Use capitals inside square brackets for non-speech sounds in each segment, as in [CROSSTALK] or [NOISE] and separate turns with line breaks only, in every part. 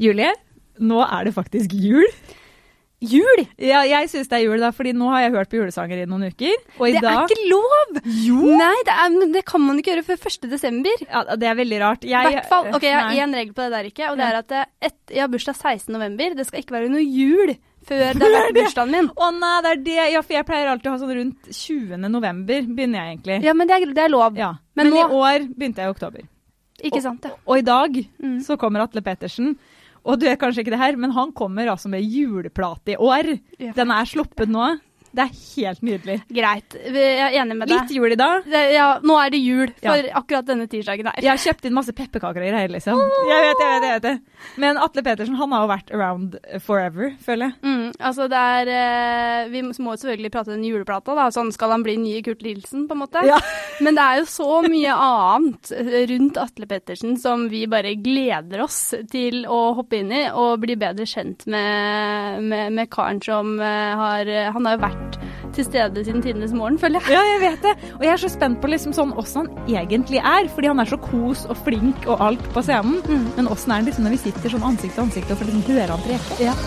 Julie, nå er det faktisk jul.
Jul!
Ja, jeg syns det er jul, da, fordi nå har jeg hørt på julesanger i noen uker. Og i
Det er
dag
ikke lov!
Jo!
Nei, det, er, men det kan man ikke gjøre før 1. desember.
Ja, det er veldig rart.
I
Jeg,
hvert fall. Ok, jeg har
Nei.
én regel på det der, ikke. Og det er at eh, et, jeg har bursdag 16. november. Det skal ikke være noe jul [LAUGHS] før det har vært bursdagen min.
Å nei, det er det. Ja, for jeg pleier alltid å ha sånn rundt 20. november, begynner jeg egentlig.
Ja, men det er, det er lov.
Ja. Men,
Men nå-
i år begynte jeg i oktober.
Ikke sant, ja.
Og i dag
Mm.
så kommer Atle Pettersen. Og du er kanskje ikke det her, men han kommer altså med juleplate i år.
Ja.
Den er sluppet nå. Det er helt nydelig.
Greit. Vi- Jeg er enig med deg.
Litt jul i dag.
Det, ja, nå er det jul for
Ja.
akkurat denne tirsdagen her.
Jeg har kjøpt inn masse pepperkaker og greier, liksom. Jeg vet, jeg vet, jeg vet det. Men Atle Pettersen han har jo vært around forever, føler jeg.
Mm, altså det er eh, Vi må selvfølgelig prate den juleplata, da. Sånn skal han bli nye Kurt Lilsen, på en måte.
Ja.
[LAUGHS] Men det er jo så mye annet rundt Atle Pettersen som vi bare gleder oss til å hoppe inn i og bli bedre kjent med, med, med karen som eh, har Han har jo vært til stede siden tidenes morgen, føler jeg.
Ja, jeg vet det. Og jeg er så spent på liksom sånn åssen han egentlig er. Fordi han er så kos og flink og alt på scenen.
Mm.
Men åssen er han liksom når vi sitter sånn ansikt til ansikt og får liksom høre han preke?
Ja.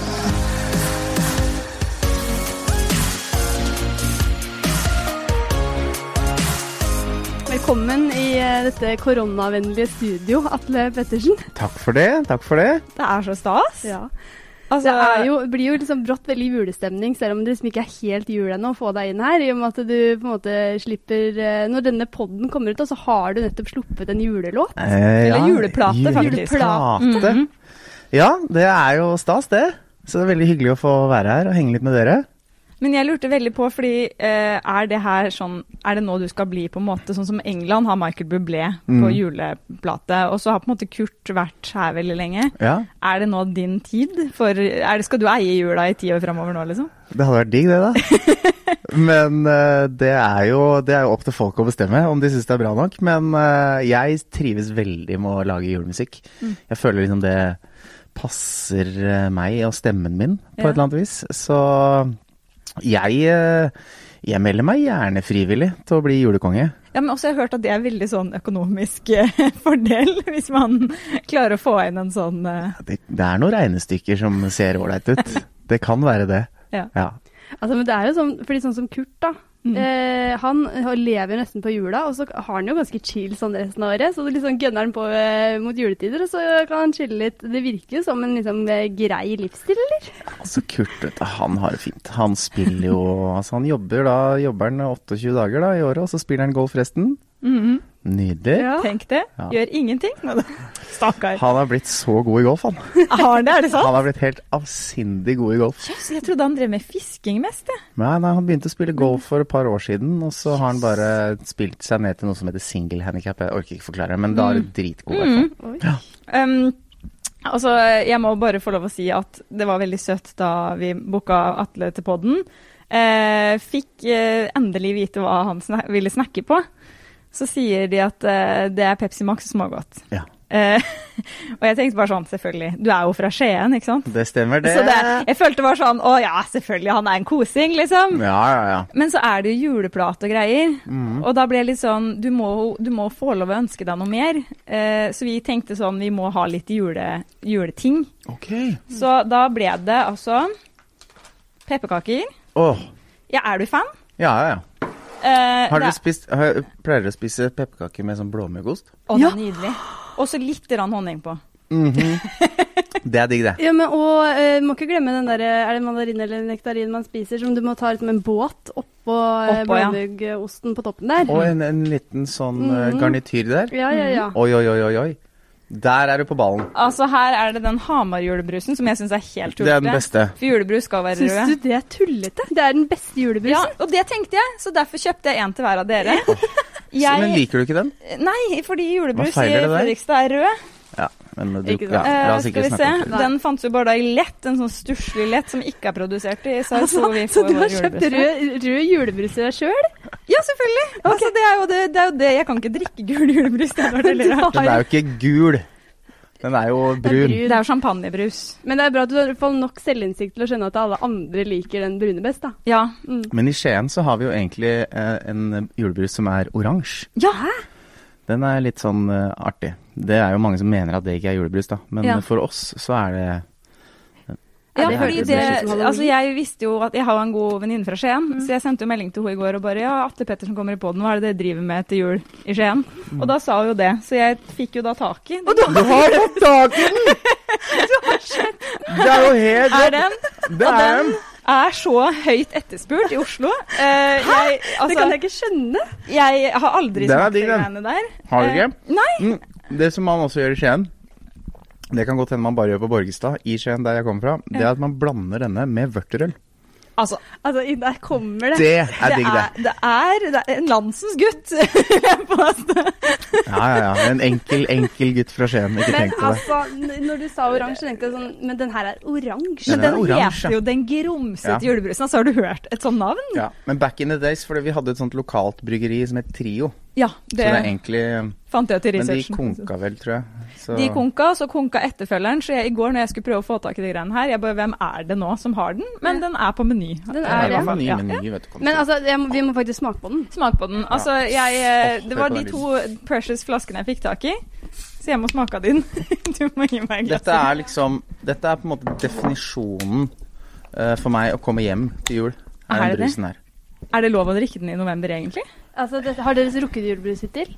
Velkommen i eh, dette koronavennlige studio, Atle Pettersen.
Takk for det. takk for det.
Det er så stas.
Det
Altså,
er jo, blir jo liksom brått veldig julestemning, selv om det liksom ikke er helt jul ennå å få deg inn her. I og med at du på en måte slipper eh, Når denne podden kommer ut, da, så har du nettopp sluppet en julelåt.
Eh,
Eller juleplate, faktisk. Mm,
Juleplate. Ja, det er jo stas, det. Så det er veldig hyggelig å få være her og henge litt med dere.
Men jeg lurte veldig på, fordi eh, er det her sånn Er det nå du skal bli, på en måte? Sånn som England har Michael Bublé på
Mm.
juleplate, og så har på en måte Kurt vært her veldig lenge.
Ja,
Er det nå din tid? For er det, skal du eie jula i ti år framover nå, liksom?
Det hadde vært digg, det, da.
[LAUGHS]
Men eh, det, er jo, det er jo opp til folk å bestemme om de syns det er bra nok. Men eh, jeg trives veldig med å lage julemusikk.
Mm.
Jeg føler liksom det passer eh, meg og stemmen min på
Ja.
et eller annet vis. Så jeg, eh, jeg melder meg gjerne frivillig til å bli julekonge.
Ja, men også har jeg hørt at det er veldig sånn økonomisk eh, [LAUGHS] fordel, hvis man klarer å få inn en sånn eh,
Det, det er noen regnestykker som ser ålreit
[LAUGHS]
ut. Det kan være det.
Ja.
Altså, men det er jo sånn, fordi sånn som Kurt, da.
Mm.
Eh, han lever jo nesten på jula, og så har han jo ganske chill sånn resten av året. Så det liksom gønner han på eh, mot juletider, og så kan han chille litt. Det virker jo som en liksom, eh, grei livsstil, eller?
Altså Kurt, vet du, han har det fint. Han spiller jo Altså han jobber da jobber han 28 dager da i året, og så spiller han golf resten.
mhm.
Nydelig.
Tenk det.
Ja.
Gjør ingenting. Nå da. Stakkar.
Han har blitt så god i golf, han.
Har det, er det sant?
Han har blitt helt avsindig god i golf.
Jøss, jeg trodde han drev med fisking mest, jeg.
Nei, nei, han begynte å spille golf for et par år siden, og så har han bare spilt seg ned til noe som heter single handicap. Jeg orker ikke forklare, men da er
Mm.
det dritgod, i hvert fall.
Oi.
Um, altså, jeg må bare få lov å si at det var veldig søtt da vi booka Atle til podden. Eh, fikk eh, endelig vite hva han sna ville snakke på. Så sier de at eh, det er Pepsi Max og smågodt.
Ja.
Eh, [LAUGHS] og jeg tenkte bare sånn, selvfølgelig. Du er jo fra Skien, ikke sant?
Det stemmer, det.
Mm. Så det, jeg følte bare sånn, å ja, selvfølgelig, han er en kosing, liksom.
Ja, ja, ja. Mm.
Men så er det jo juleplate og greier. Og da ble jeg litt sånn du må, du må få lov å ønske deg noe mer. Eh, så vi tenkte sånn vi må ha litt jule, juleting.
Ok.
Så da ble det altså pepperkaker.
Åh.
Ja, er du fan?
Ja, ja, ja.
Eh,
Har dere
det-
spist, har, pleier dere å spise pepperkaker med sånn blåmuggost?
Å, det
Ja.
er nydelig. Og så litt grann honning på.
Det er digg, det.
Ja, men og eh, må ikke glemme den der eh, Er det mandarin eller nektarin man spiser som du må ta ut med en båt oppå eh,
Oppå, ja.
blåmuggosten på toppen der?
Og en, en liten sånn eh, garnityr der.
Ja, ja, ja.
Oi, oi, oi, oi, oi. Der er du på ballen.
Altså her er det den Hamar-julebrusen som jeg syns er helt
Det er
tullete.
den beste.
For julebrus skal være
Syns
rød.
du det er tullete? Det er den beste
Ja,
julebrusen.
og det tenkte jeg, så derfor kjøpte jeg en til hver av dere. Jeg-
Men liker du ikke den?
Nei, fordi julebrus
Hva
i
feiler det der?
Fredrikstad er rød.
Ja, men du,
Ikke
ja,
sant.
la
Eh,
oss
skal
ikke
vi se.
snakke om det.
Den fantes jo bare da i lett, en sånn stusslig lett som ikke er produsert i saus.
Altså,
hvor vi
[LAUGHS] så
får
du har
vår
kjøpt
julebrus fra.
rød, rød julebrus til deg sjøl?
Ja, selvfølgelig. Altså, det, er jo det, det er jo det. Jeg kan ikke drikke gul julebrus. Det, hadde
[LAUGHS]
vært veldig rart.
Den er jo ikke gul. Den er jo brun.
det er jo champagnebrus.
Men det er bra at du har i hvert fall nok selvinnsikt til å skjønne at alle andre liker den brune best, da. Mm.
Ja.
Men i Skien så har vi jo egentlig eh, en julebrus som er oransje.
ja.
Den er litt sånn eh, artig. Det er jo mange som mener at det ikke er julebrus, da. Men
Ja.
for oss så er det
Ja,
det
fordi
høres
det,
mer ut som halloween.
altså jeg visste jo at jeg har jo en god venninne fra Skien,
Mm.
så jeg sendte jo melding til henne i går og bare ja, Atle Pettersen kommer i poden, hva er det dere driver med etter jul i Skien?
Mm.
Og da sa hun jo det, så jeg fikk jo da tak i den.
Du har fått tak i den! Det er jo helt
Er den
Det er den!
er så høyt etterspurt i Oslo. Eh, jeg,
det
altså,
kan jeg ikke skjønne.
jeg har aldri
Den er
smakt de
digg, den.
greiene der.
Har du ikke?
Eh, Nei.
Mm, Det som man også gjør i Skien, det kan godt hende man bare gjør på Borgestad, i Skien der jeg kommer fra, det er at man blander denne med vørterøl.
Altså,
Altså, i- der kommer det.
Det er digg, det.
det, er, det er en landsens gutt. [LAUGHS] vil jeg påstå.
Ja, ja, ja. En enkel, enkel gutt fra Skien. Ikke
Men
tenk på det.
altså, n- når du sa oransje, tenkte jeg sånn Men den her er oransje.
Men
Den er
den
oransje.
heter jo Den grumsete
Ja.
julebrusen. Altså, har du hørt et sånt navn?
Ja, men back in the days, fordi vi hadde et sånt lokalt bryggeri som het Trio.
Ja, det,
Så det er egentlig
fant jeg ut i
Men de
researchen.
konka vel, tror jeg. Så,
De konka, så konka etterfølgeren. Så jeg, i går når jeg skulle prøve å få tak i de greiene her, jeg bare Hvem er det nå som har den? Men den er på meny.
Den
Ja,
er
det var
det.
en ny
Ja.
meny, vet du. kom
Men
til.
altså, jeg må, vi må faktisk smake på den.
Smak på den. Altså, jeg eh,
Åh,
Det
hør
var
på
de
den
to precious flaskene jeg fikk tak i, så jeg må smake av din. [LAUGHS] Du må gi meg en glass.
Dette er liksom Dette er på en måte definisjonen eh, for meg å komme hjem til jul. Er
Er
den
det det?
brusen her.
Er det lov å drikke den i november, egentlig?
Altså, det, har dere rukket julebrus hittil?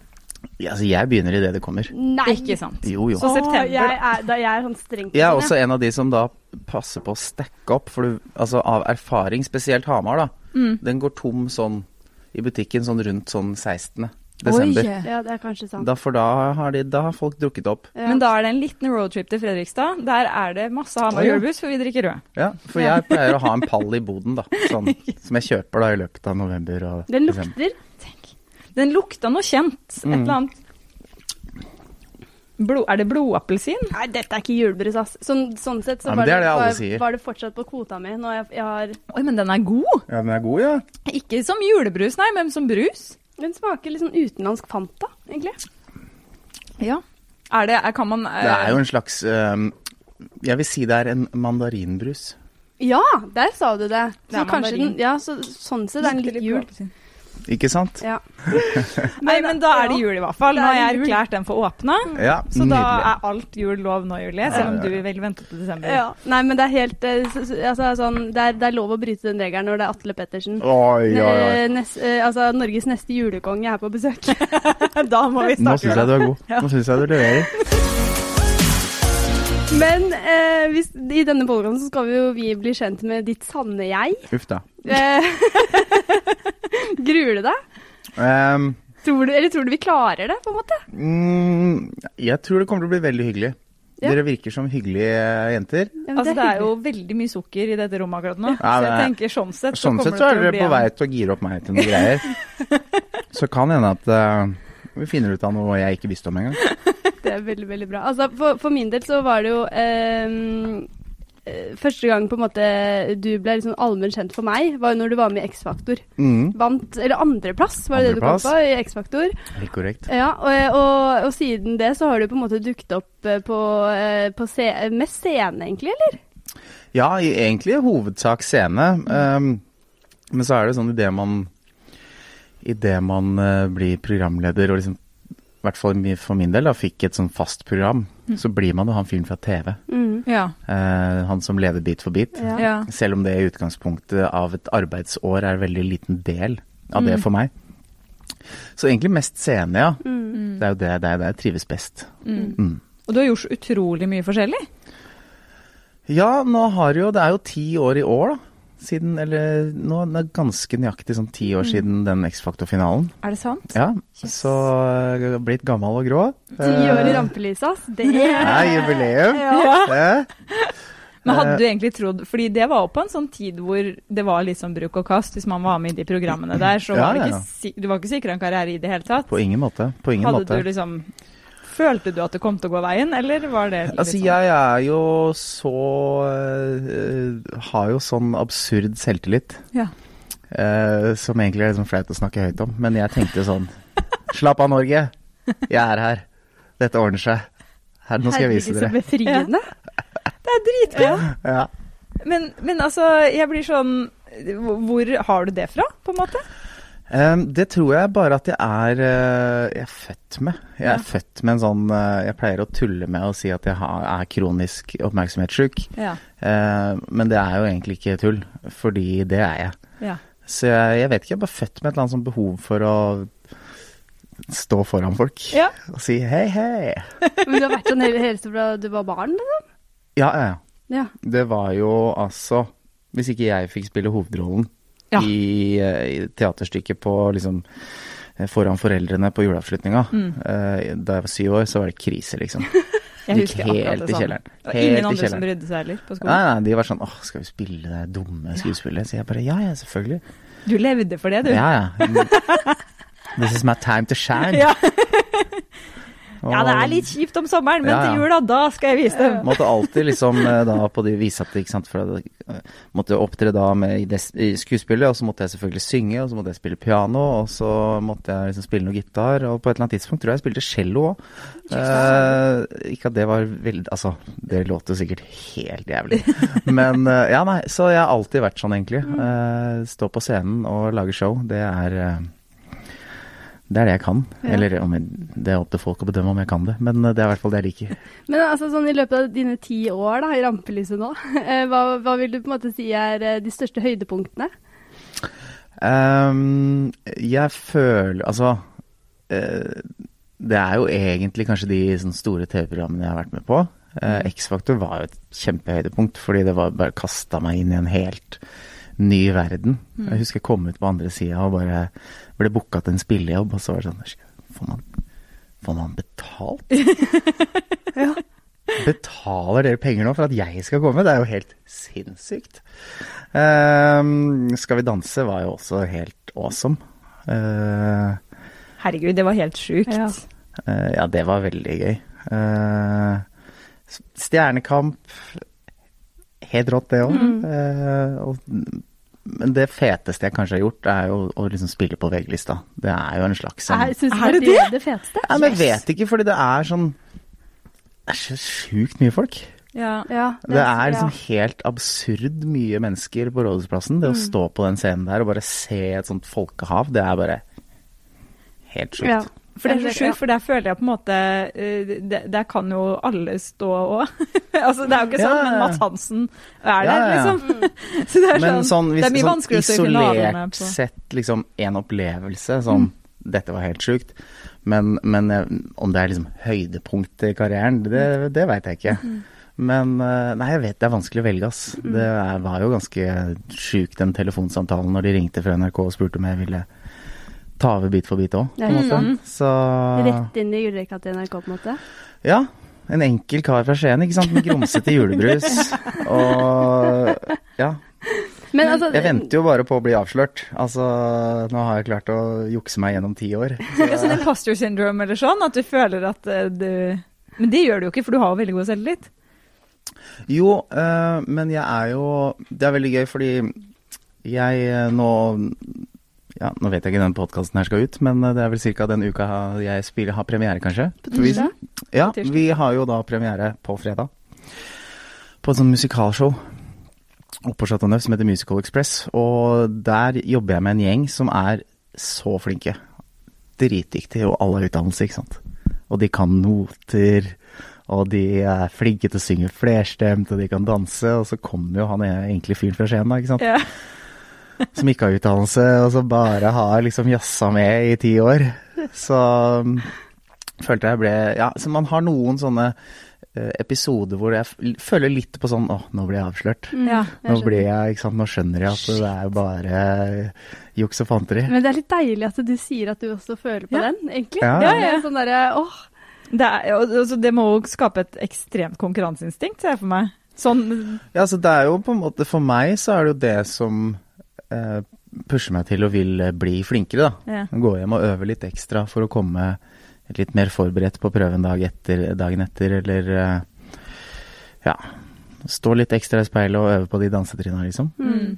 Ja, altså, jeg begynner idet det kommer.
Nei.
Ikke sant.
Jo, jo.
Så
Åh,
september,
jeg er, da, jeg er sånn strengt.
Jeg er også en av de som da passer på å stacke opp, for du, altså av erfaring, spesielt Hamar, da. Den går tom sånn i butikken sånn rundt sånn 16. desember.
Oi.
Ja, det er kanskje sant.
Da, for da har, de, da har folk drukket opp.
Ja.
Men da er det en liten roadtrip til Fredrikstad. Der er det masse Hamar
Å, ja.
julebrus, for vi drikker rød.
Ja, for jeg pleier å ha en pall i boden, da. Sånn, som jeg kjøper da i løpet av november og
Den
desember.
lukter.
Den lukta noe kjent. Et
Mm.
eller annet Blod, Er det blodappelsin?
Nei, dette er ikke julebrus, ass. Sånn, sånn sett så
Ja, men
var,
det er det alle
var,
sier.
var det fortsatt på kvota mi når jeg, jeg har
Oi, men den er god!
Ja, den er god, ja.
Ikke som julebrus, nei, men som brus.
Den smaker litt sånn utenlandsk Fanta, egentlig.
Ja. Er det er, Kan man eh,
Det er jo en slags øhm, Jeg vil si det er en mandarinbrus.
Ja, der sa du det.
Det
Så
er
kanskje
mandarin.
den Ja, så, sånn
eh,
sett er den litt jul.
Ikke sant?
Ja.
Nei, men da er det jul i hvert fall. Nå
Da er
har jeg
det jul.
erklært den for åpna.
Ja,
Så da
Eh, nydelig.
er alt jul lov nå, Julie. Selv om
Ja, ja,
du
ja.
vil vente til desember.
ja. Nei, men det er helt eh, s- s- Altså, sånn det er, det er lov å bryte den regelen når det er Atle Pettersen.
Oi, oi, oi.
Eh, nes- eh, altså, Norges neste julekonge er på besøk.
[LAUGHS] Da må vi
Nå
snakke
syns jeg du er god. Nå syns jeg du leverer.
Men eh, hvis, i denne bollen så skal vi jo vi bli kjent med ditt sanne jeg.
Uff da.
Eh, [LAUGHS] gruer du deg?
Ehm,
Tror du, eller tror du vi klarer det, på en måte?
Mm, jeg tror det kommer til å bli veldig hyggelig.
Ja.
Dere virker som hyggelige jenter.
Ja, men
Altså, det er
hyggelig.
jo veldig mye sukker i dette rommet akkurat nå.
Ja,
så jeg
men-
tenker sånn sett så
Sånn
kommer
sett så
det
er
til å
dere
bli
på
en-
vei til å gire opp meg til noen
[LAUGHS]
greier. Så kan hende at eh, vi finner ut av noe jeg ikke visste om engang.
Det er veldig, veldig bra. Altså, for, for min del så var det jo ehm, eh, Første gang på en måte du ble liksom allmenn kjent for meg, var jo når du var med i X-Faktor.
Mm,
Vant Eller andreplass, var det
Andreplass.
det du kom på i X-Faktor.
helt korrekt.
Ja, og, eh, og, og siden det så har du på en måte dukket opp eh, på, eh, på se, mest scene, egentlig, eller?
Ja, i- egentlig i hovedsak scene. ehm, men så er det sånn idet man Idet man eh, blir programleder, og liksom i hvert fall mi- for min del, da, fikk et sånn fast program, så blir man jo han fyren fra TV.
Mm.
Ja.
eh, han som leder Bit for bit.
Ja.
ja.
Selv om det i utgangspunktet av et arbeidsår er en veldig liten del av det for meg. Så egentlig mest scene, ja.
Mm.
Det er jo det, det er der jeg trives best. Mm.
Mm. Og du har gjort så utrolig mye forskjellig.
Ja, nå har jo Det er jo ti år i år, da. Siden, eller nå er det ganske nøyaktig sånn ti
Mm.
år siden den X-Factor-finalen.
Er det sant?
Ja, Så eh, jeg har blitt gammel og grå.
Ti år i
Eh,
rampelyset, ass. Det er
Det er jubileum. Eh,
Men hadde du egentlig trodd Fordi det var jo på en sånn tid hvor det var litt sånn bruk og kast. Hvis man var med i de programmene der, så
Mm. Ja,
var det
ja, ja.
ikke, si- du var ikke sikra en karriere i det hele tatt.
På ingen måte. På ingen
hadde
måte.
du liksom Følte du at det kom til å gå veien, eller var det litt
Altså,
sånn
jeg er jo så eh, Har jo sånn absurd selvtillit
Ja.
eh, som egentlig er liksom flaut å snakke høyt om. Men jeg tenkte sånn [LAUGHS] Slapp av, Norge. Jeg er her. Dette ordner seg. Her, nå skal jeg vise
herregud, så
dere.
befriende.
Det er dritbra!
Ja.
Men, men altså, jeg blir sånn Hvor har du det fra, på en måte?
Ehm, det tror jeg bare at jeg er eh, Jeg er født med. Jeg er født med en sånn eh, Jeg pleier å tulle med å si at jeg har, er kronisk oppmerksomhetssjuk.
Ja.
Eh, men det er jo egentlig ikke tull, fordi det er jeg.
ja.
Så jeg, jeg vet ikke, jeg er bare født med et eller annet sånt behov for å stå foran folk
Ja.
og si hei, hei.
Men du har vært sånn hele, helt fra du var barn, liksom?
Ja, ja, ja.
Ja.
Det var jo altså Hvis ikke jeg fikk spille hovedrollen
Ja.
i, eh, i teaterstykket på liksom eh, Foran foreldrene på juleavslutninga.
Mm.
eh, Da jeg var syv år, så var det krise, liksom.
Jeg
Gikk
husker akkurat
helt
det
i
samme.
kjelleren.
Det var
Helt i
ingen andre som
kjelleren.
brydde seg heller på
Nei,
skolen.
nei, de var sånn åh, skal vi spille det dumme skuespillet? Så jeg bare ja, ja, selvfølgelig.
Du levde for det, du.
Ja, ja. This is my time
[LAUGHS]
to shine.
Ja.
Og
Ja, det er litt kjipt om sommeren, men
Ja, ja.
til jula, da skal jeg vise dem.
[LAUGHS] Måtte alltid liksom eh, da på de vise at ikke sant, for jeg eh, måtte opptre da med i, des, i skuespillet, og så måtte jeg selvfølgelig synge, og så måtte jeg spille piano, og så måtte jeg liksom spille noe gitar, og på et eller annet tidspunkt tror jeg jeg spilte cello òg. ikke at det var veldig Altså, det låt jo sikkert helt jævlig. Men eh, ja, nei, så jeg har alltid vært sånn, egentlig. Eh, stå på scenen og lage show, det er eh, det er det jeg kan. Eller om jeg, det er opp til folk å bedømme om jeg kan det, men eh, det er i hvert fall det jeg liker.
Men altså, sånn i løpet av dine ti år da, i rampelyset nå, [LAUGHS] eh, hva, hva vil du på en måte si er eh, de største høydepunktene?
Ehm, jeg føler Altså eh, Det er jo egentlig kanskje de sånn store TV-programmene jeg har vært med på. Eh, X-Factor var jo et kjempehøydepunkt, fordi det var bare kasta meg inn i en helt ny verden. Jeg husker jeg kom ut på andre sida og bare ble booka til en spillejobb, og så var det sånn Får man, får man betalt? Betaler dere penger nå for at jeg skal komme? Det er jo helt sinnssykt. Ehm, skal vi danse var jo også helt awesome. Eh,
Herregud, det var helt sjukt.
Ja.
eh, ja, det var veldig gøy. Eh, s- stjernekamp Helt rått, det òg. men det feteste jeg kanskje har gjort, er jo å liksom spille på VG-lista. Det er jo en slags sånn
Er, synes du
Er det
det er det feteste?
Nei, men jeg vet ikke, fordi det er sånn Det er så sjukt mye folk.
Ja.
Ja,
Det er
ja.
liksom helt absurd mye mennesker på Rådhusplassen. Det
Mm.
å stå på den scenen der og bare se et sånt folkehav, det er bare helt sjukt.
Ja.
For det er så
Ja.
sjukt, for der føler jeg på en måte eh, det- Der kan jo alle stå òg. [LAUGHS] altså, det er jo ikke sånn,
Ja, ja, ja.
men Mads Hansen er
Ja,
der,
ja, ja.
liksom. [LAUGHS] så det er
Men
sånn,
sånn, hvis,
det er mye
sånn
vanskeligere å stå i finalene
isolert
på
sett liksom en opplevelse sånn Dette var helt sjukt. Men, men eh, om det er liksom høydepunkt i karrieren, det, det veit jeg ikke. Men eh, nei, jeg vet det er vanskelig å velge, ass. Det er, var jo ganske sjukt den telefonsamtalen når de ringte fra NRK og spurte om jeg ville ta over Bit for bit òg.
Ja, ikke sant?
Så Ah.
Rett inn i gullrekka til NRK, på en måte.
Ja. En enkel kar fra Skien, ikke sant. Med grumsete julebrus.
[LAUGHS]
Og ja.
Men altså,
Mm. Jeg venter jo bare på å bli avslørt. Altså, nå har jeg klart å jukse meg gjennom ti år.
Ja, sånn imposter syndrome eller sånn, at du føler at eh, du Men det gjør du jo ikke, for du har jo veldig god selvtillit.
Jo, eh, men jeg er jo Det er veldig gøy, fordi jeg eh, nå ja, Nå vet jeg ikke den podkasten her skal ut, men eh, det er vel ca. den uka jeg spiller, har premiere, kanskje.
På tirsdag?
Ja,
På tirsdag.
vi har jo da premiere på fredag. På et sånt musikalshow oppe på Chateau Neuf som heter Musical Express. Og der jobber jeg med en gjeng som er så flinke. Dritdyktige, og alle har utdannelse, ikke sant. Og de kan noter, og de er flinke til å synge flerstemt, og de kan danse. Og så kommer jo han enkle fyren fra Skien, da, ikke sant.
Ja.
Som ikke har utdannelse, og som bare har liksom jazza med i ti år. Så um, følte jeg ble Ja, så man har noen sånne eh, episoder hvor jeg f- føler litt på sånn Å, nå ble jeg avslørt.
Ja.
Mm, Jeg
Nå
skjønner.
blir jeg, ikke sant, nå skjønner jeg at det er bare juks og fanteri.
Men det er litt deilig at du sier at du også føler på
Ja.
den, egentlig.
Ja.
Det
Ja, ja.
er Sånn derre åh.
Det, er, og- og så det må jo skape et ekstremt konkurranseinstinkt, ser jeg for meg. Sånn
Ja, så det er jo på en måte For meg så er det jo det som eh, pusher meg til å ville bli flinkere, da.
Ja.
Gå hjem og øve litt ekstra for å komme litt mer forberedt på prøven dag etter, dagen etter, eller eh, ja. Stå litt ekstra i speilet og øve på de dansetrinna, liksom.
Mm.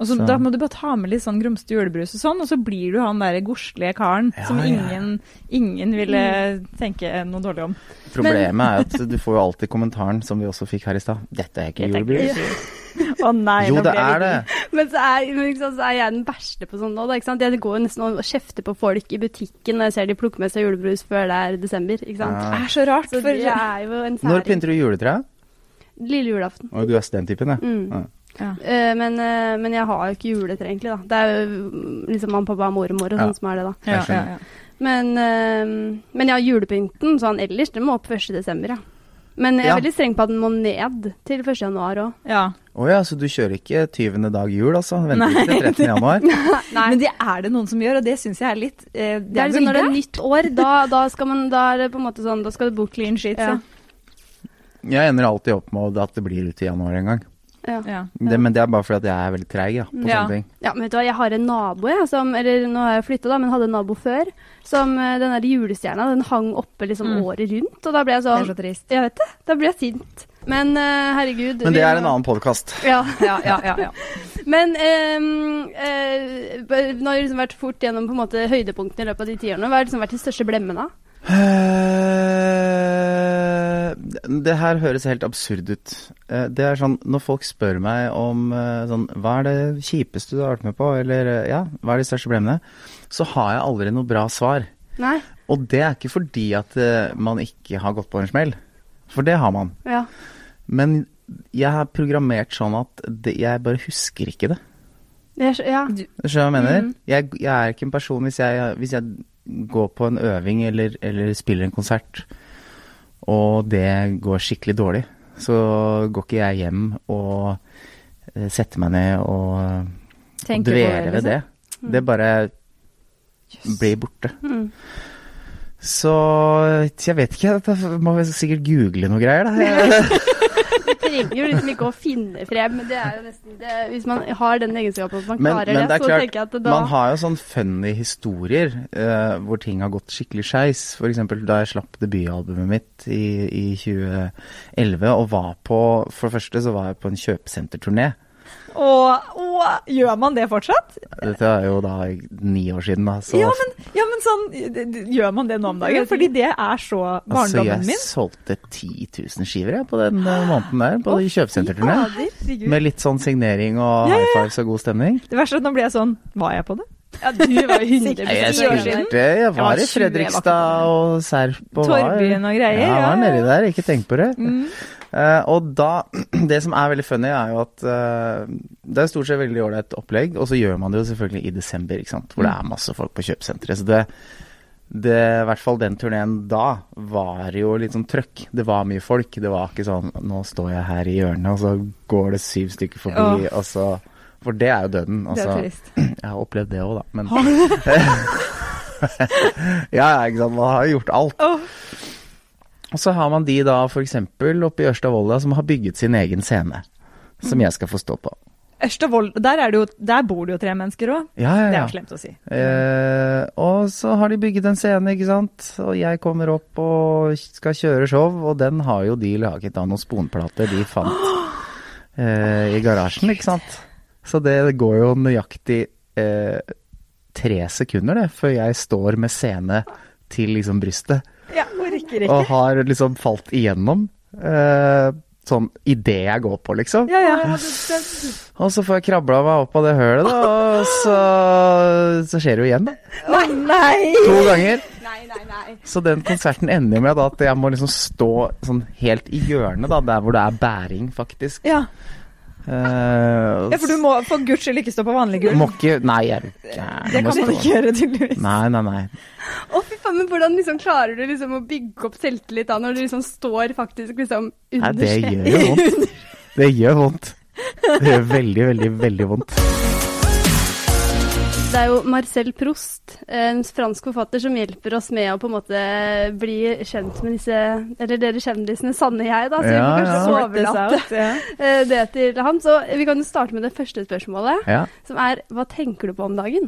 Og så,
Så-
Da må du bare ta med litt sånn grumsete julebrus og sånn, og så blir du han derre godslige karen
Ja,
som
ja.
ingen, ingen ville
Mm.
tenke noe dårlig om.
Problemet er jo at du får jo alltid kommentaren som vi også fikk her i stad. Dette er ikke julebrus.
[LAUGHS] Å nei,
Jo,
nå
det
ble jeg
er det.
litt-
Men så er, men ikke sant, så er jeg den verste på sånn nå. da, ikke sant? Jeg går jo nesten og kjefter på folk i butikken når jeg ser de plukker med seg julebrus før det er desember. ikke sant?
Det er så rart,
Så
for
det er jo en
Når
særing.
pynter du juletreet?
Lille julaften.
Å, du er den typen, ja.
Mm.
ja.
ja.
Eh, men, eh, men jeg har jo ikke juletre, egentlig. da. Det er jo mm, liksom mamma, pappa, mormor og
Ja.
sånn som er det, da.
Ja,
Jeg
ja,
skjønner.
ja.
Men, eh, men ja, julepynten sånn ellers, den må opp 1. desember, ja. Men jeg er
Ja.
veldig streng på at den må ned til 1. januar òg.
ja.
Å ja, så du kjører ikke 20. dag jul, altså? Venter
Nei,
ikke til 13. januar?
Nei.
Men det er det noen som gjør, og det syns jeg er litt eh,
Det er liksom når det er nytt år, da, da skal man Da er det på en måte sånn Da skal du bort
Clean sheets, ja.
Ja.
[LAUGHS] Jeg ender alltid opp med at det blir ut i januar en gang.
ja.
ja.
Det, men det er bare fordi at jeg er veldig treig ja, på
Ja.
sånne ting.
Ja, men vet du hva, jeg har en nabo, jeg, som Eller nå har jeg flytta, da, men hadde en nabo før. Som eh, den der julestjerna, den hang oppe liksom
Mm.
året rundt. Og da ble jeg
Det er
sånn
så trist.
Jeg vet det. Da ble jeg sint. Men eh, herregud
Men
vi
det er
må-
en annen podkast.
Ja. [LAUGHS]
Ja, ja, ja. ja.
Men ehm, eh, b- nå har jeg liksom vært fort gjennom på en måte høydepunktene i løpet av de ti årene. Hva har liksom vært de største blemmene?
Eh, Det her høres helt absurd ut. Eh, Det er sånn når folk spør meg om eh, sånn Hva er det kjipeste du har vært med på, eller eh, ja, hva er de største blemmene? Så har jeg aldri noe bra svar.
Nei?
Og det er ikke fordi at eh, man ikke har gått på en smell, for det har man.
Ja.
Men jeg er programmert sånn at det, jeg bare husker ikke det.
Jeg skj- ja.
Du,
Skjønner du hva jeg mener?
Mhm.
Jeg, jeg er ikke en person hvis jeg, hvis jeg går på en øving eller, eller spiller en konsert, og det går skikkelig dårlig, så går ikke jeg hjem og eh, setter meg ned og
Tenker på Mm. det, liksom.
dveler ved det.
Mhm.
Det bare blir borte.
Mm.
Så jeg vet ikke, jeg må vel sikkert google noe
[LAUGHS]
greier, da.
Du trenger jo liksom ikke å finne frem. men Det er jo nesten det, Hvis man har den egenskapen at man
Men-
klarer
men det
det,
er
så
klart,
tenker jeg at da
Man har jo sånn funny historier eh, hvor ting har gått skikkelig skeis. For eksempel da jeg slapp debutalbumet mitt i, i 2011 og var på For det første så var jeg på en kjøpesenterturné.
Og, og gjør man det fortsatt?
Dette er jo da ni år siden, da. Så
Ja men, ja, men sånn d- d- Gjør man det nå om dagen? Fordi det er så
altså,
barndommen
jeg
min.
solgte 10 000 skiver jeg, på den eh, måneden der, på kjøpesenterturné.
Herregud.
Med litt sånn signering og
Ja, ja,
high
ja.
fives og god stemning.
Det verste er at nå blir jeg sånn Var jeg på det?
Ja, du
[LAUGHS]
var jo 100
Nei, jeg
Jeg
ti år siden.
spilte,
var 20,
jeg var i
jeg var ikke
Fredrikstad og Serp og var-
Torvbyen og greier.
Ja, jeg var
ja, ja.
nedi der, ikke tenk på det.
Mm.
Eh, og da, [CLEARS THROAT] det som er veldig funny, er jo at eh, det er stort sett veldig ålreit opplegg, og så gjør man det jo selvfølgelig i desember, ikke sant, hvor det
Mm.
er masse folk på kjøpesenteret. Så det, det, i hvert fall den turneen da, var jo litt sånn trøkk. Det var mye folk. Det var ikke sånn nå står jeg her i hjørnet, og så går det syv stykker forbi, og så For det er jo døden.
Det er
Altså,
trist.
jeg har opplevd det òg, da. Men [LAUGHS] Ja, ja, ikke sant. Man har jo gjort alt.
Åh.
Og så har man de da f.eks. oppe i Ørstavolla som har bygget sin egen scene. Som jeg skal få stå på.
Ørstevoll Der, er det jo, der bor det jo tre mennesker òg.
Ja,
Det er
ja,
jo
ja.
slemt å si.
Eh, og så har de bygget en scene, ikke sant. Og jeg kommer opp og skal kjøre show, og den har jo de laget av noen sponplater de fant eh, i garasjen, ikke sant. Så det går jo nøyaktig eh, tre sekunder, det, før jeg står med scene til liksom brystet.
Ja, orker ikke.
Og har liksom falt igjennom. Eh, sånn idet jeg går på, liksom.
Ja, ja.
Og så får jeg krabla meg opp av det hølet, da, og så, så skjer det jo igjen, da.
Nei, nei!
To ganger.
Nei, nei, nei.
Så den konserten ender jo med da, at jeg må liksom stå sånn helt i hjørnet, da, der hvor det er bæring, faktisk.
Ja.
Eh,
ja, for du må for guds skyld ikke stå på vanlig
må
gulv.
ikke Nei, jeg vil ikke. jeg
Det
må
kan man
stå.
ikke gjøre, tydeligvis.
Nei, nei, nei.
Å, fy faen, men hvordan liksom klarer du liksom å bygge opp selvtillit da, når du liksom står faktisk liksom
nei
under
det
skje-
gjør jo vondt. Det gjør vondt. Det gjør veldig, veldig, veldig vondt.
Det er jo Marcel Proust, en fransk forfatter, som hjelper oss med å på en måte bli kjent med disse Eller dere kjendisene sanne jeg, da. Så
Ja,
vi kan
ja.
kanskje
Sort this
overlate
out, ja.
eh, det til han. Så vi kan jo starte med det første spørsmålet,
Ja.
som er hva tenker du på om dagen?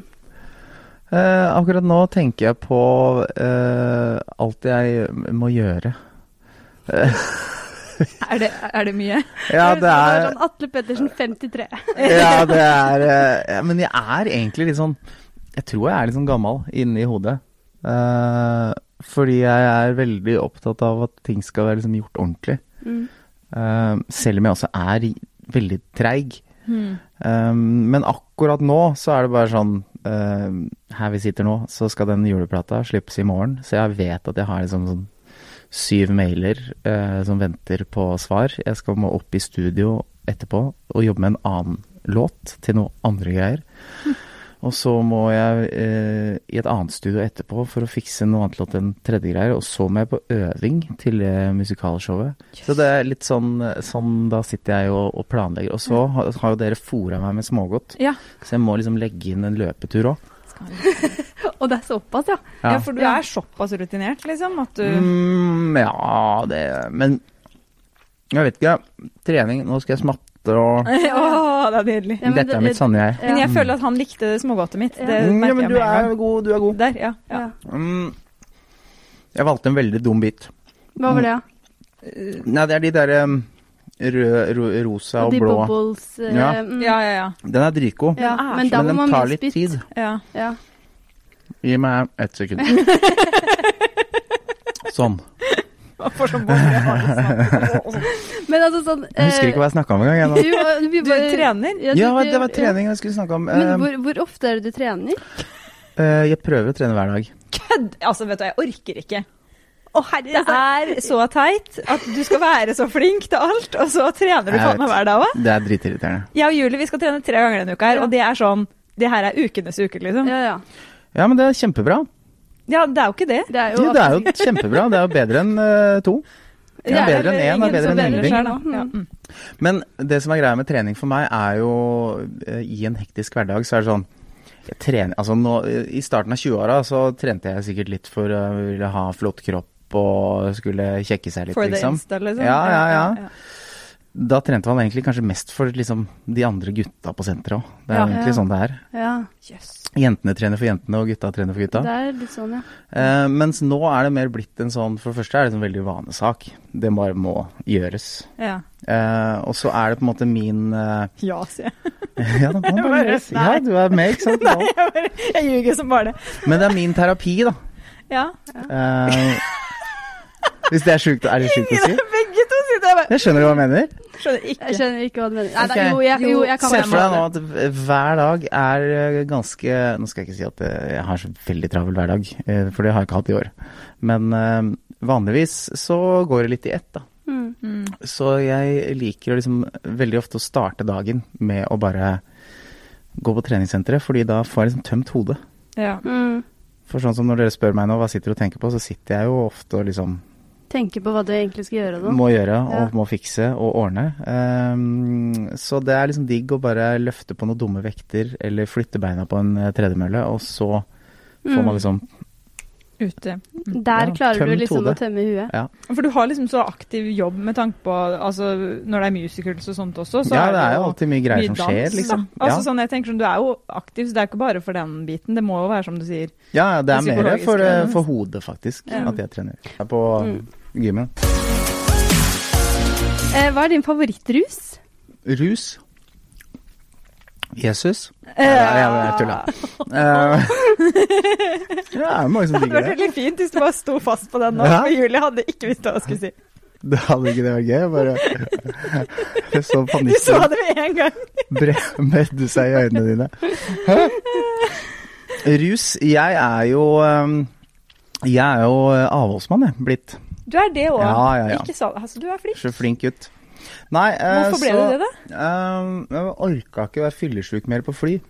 Eh, akkurat nå tenker jeg på eh, alt jeg må gjøre.
Er det, er det mye?
Ja, det er
sånn Atle Pettersen 53.
Ja, det er eh, ja, Men jeg er egentlig litt sånn Jeg tror jeg er litt sånn gammel inni hodet. Eh, fordi jeg er veldig opptatt av at ting skal være liksom gjort ordentlig.
Mm.
Eh, selv om jeg også er i- veldig treig.
Hmm.
Um, men akkurat nå så er det bare sånn um, Her vi sitter nå, så skal den juleplata slippes i morgen. Så jeg vet at jeg har liksom sånn syv mailer eh, som venter på svar. Jeg skal må opp i studio etterpå og jobbe med en annen låt til noe andre greier. Og så må jeg eh, i et annet studio etterpå for å fikse noe annet låt enn tredje greier. Og så må jeg på øving til det musikalshowet. Så det er litt sånn, sånn da sitter jeg og, og planlegger. Og så har, har jo dere fora meg med smågodt,
Ja.
så jeg må liksom legge inn en løpetur òg.
Og det er såpass, ja.
ja, for du er såpass rutinert, liksom, at du [LAUGHS]
Mm, ja, det Men jeg vet ikke. Trening Nå skal jeg smatte
Å,
og
det er nydelig.
Ja, men
Dette
det-
er mitt sanne jeg.
Men jeg
Mm.
føler at han likte smågodtet mitt. Det
Ja.
Mm, ja,
merker
men
jeg
du
med en
er
gang.
god. Du er god.
Der, ja. ja.
Ja.
Mm, jeg valgte en veldig dum bit.
Hva var det, da?
Nei, det er de derre rød, ro, rosa og
de
blå.
bubbles eh,
Ja.
mm.
Ja, ja, ja.
Den er dritgod,
Ja,
Den er
Men
så-
da
men
må
den
man
tar
mye
litt
spytt.
tid.
ja.
Ja.
Gi meg ett [LAUGHS] sekund. sånn.
[LAUGHS] For så mange har [LAUGHS] det sånn.
Men altså sånn
Jeg husker ikke hva jeg snakka om engang. jeg nå.
du, vi
Du
bare-
trener?
Ja, du-
Ja,
du-
det var trening jeg skulle snakke om.
Ja. Men
Eh,
hvor, hvor ofte er det du trener?
eh, Jeg prøver å trene hver dag.
Kødd! Altså, vet du, jeg orker ikke. Å, herre, det er så teit at du skal være så flink til alt, og så trener du
Jeg
faen meg
vet.
hver dag òg.
Det er dritirriterende.
Jeg og Julie vi skal trene tre ganger denne uka her,
Ja.
og det er sånn Det her er ukenes uke, liksom.
Ja, ja.
Ja, men det er kjempebra.
Ja, det er jo ikke det.
Det er jo,
Jo, det er jo kjempebra. Det er jo bedre enn eh, to. Det er bedre enn én,
ingen
det er bedre
som
enn
bedrer
ingenting.
seg, da. Ja. Mm.
Men det som er greia med trening for meg, er jo eh, i en hektisk hverdag, så er det sånn jeg trener, altså nå, eh, I starten av 20-åra så trente jeg sikkert litt for å ville ha flott kropp og skulle kjekke seg litt,
For the
liksom.
Insta, liksom.
Ja, ja, ja. Da trente man egentlig kanskje mest for liksom, de andre gutta på senteret òg. Det er
Ja.
jo egentlig
Ja.
sånn det er.
ja.
Yes.
Jentene trener for jentene, og gutta trener for gutta.
Det er litt sånn, ja.
Eh, mens nå er det mer blitt en sånn For det første er det en sånn veldig vanesak. Det bare må gjøres.
Ja.
Eh, og så er det på en måte min eh, [LAUGHS]
ja, sier jeg.
Ja, det må bare
Bare
gjøres.
nei.
Ja, du er med, ikke
[LAUGHS]
sant?
Nei, jeg, bare, jeg ljuger som bare det.
Men det er min terapi, da.
Ja.
Eh, hvis det er sjukt, er det sjukt å si?
[LAUGHS] Begge to sitter der og bare
Jeg skjønner hva jeg mener.
Skjønner
Jeg
ikke.
skjønner ikke hva du mener. Nei, da,
Ok.
jo, jeg, jo, jeg kan
Se for deg nå at hver dag er eh, ganske Nå skal jeg ikke si at eh, jeg har så veldig travel hver dag, eh, for det har jeg ikke hatt i år. Men eh, vanligvis så går det litt i ett, da.
Mm.
Mm.
Så jeg liker å liksom veldig ofte å starte dagen med å bare gå på treningssenteret, fordi da får jeg liksom tømt hodet.
Ja.
Mm.
For sånn som når dere spør meg nå hva sitter du og tenker på, så sitter jeg jo ofte og liksom
Tenke på hva du egentlig skal gjøre nå.
må gjøre og
Ja.
må fikse og ordne. Ehm, så det er liksom digg å bare løfte på noen dumme vekter eller flytte beina på en eh, tredemølle, og så får
Mm.
man liksom
Ute.
Mm. Der
sånn- Ja,
klarer
tømt
du liksom
hodet.
å tømme huet.
For du har liksom så aktiv jobb med tanke på altså, Når det er musicals og sånt også, så
Ja,
er
det er jo
jo
alltid mye greier som skjer,
da.
liksom.
Altså,
Ja.
sånn, jeg tenker sånn, Du er jo aktiv, så det er ikke bare for den biten. Det må jo være som du sier.
Ja, ja, det er
Det
mer
psykologiske
for, eh,
trening.
for hodet, faktisk,
Ja.
at jeg trener. Jeg er på
Mm.
gymmen.
Eh, hva er din favorittrus?
Rus. Jesus. Nei, jeg, jeg tulla. Eh, [LAUGHS] ja, det er mange
Det hadde
som digger
vært
det.
veldig fint hvis du bare sto fast på den nå.
Ja.
For Julie hadde ikke visst hva hun skulle si.
Det hadde ikke det vært gøy? Jeg Bare [LAUGHS] Jeg
Du
så
så
panikken
det med en gang.
bre- [LAUGHS] bredde seg i øynene dine. Hæ? Rus. Jeg er jo um, Jeg er jo uh, avholdsmann, jeg. Blitt.
Du er det òg.
Ja, ja, ja.
Ikke sa altså, Du er flink.
Så flink gutt. Nei, eh,
Hvorfor ble du det, da?
så um, Jeg orka ikke være fyllesyk mer på fly.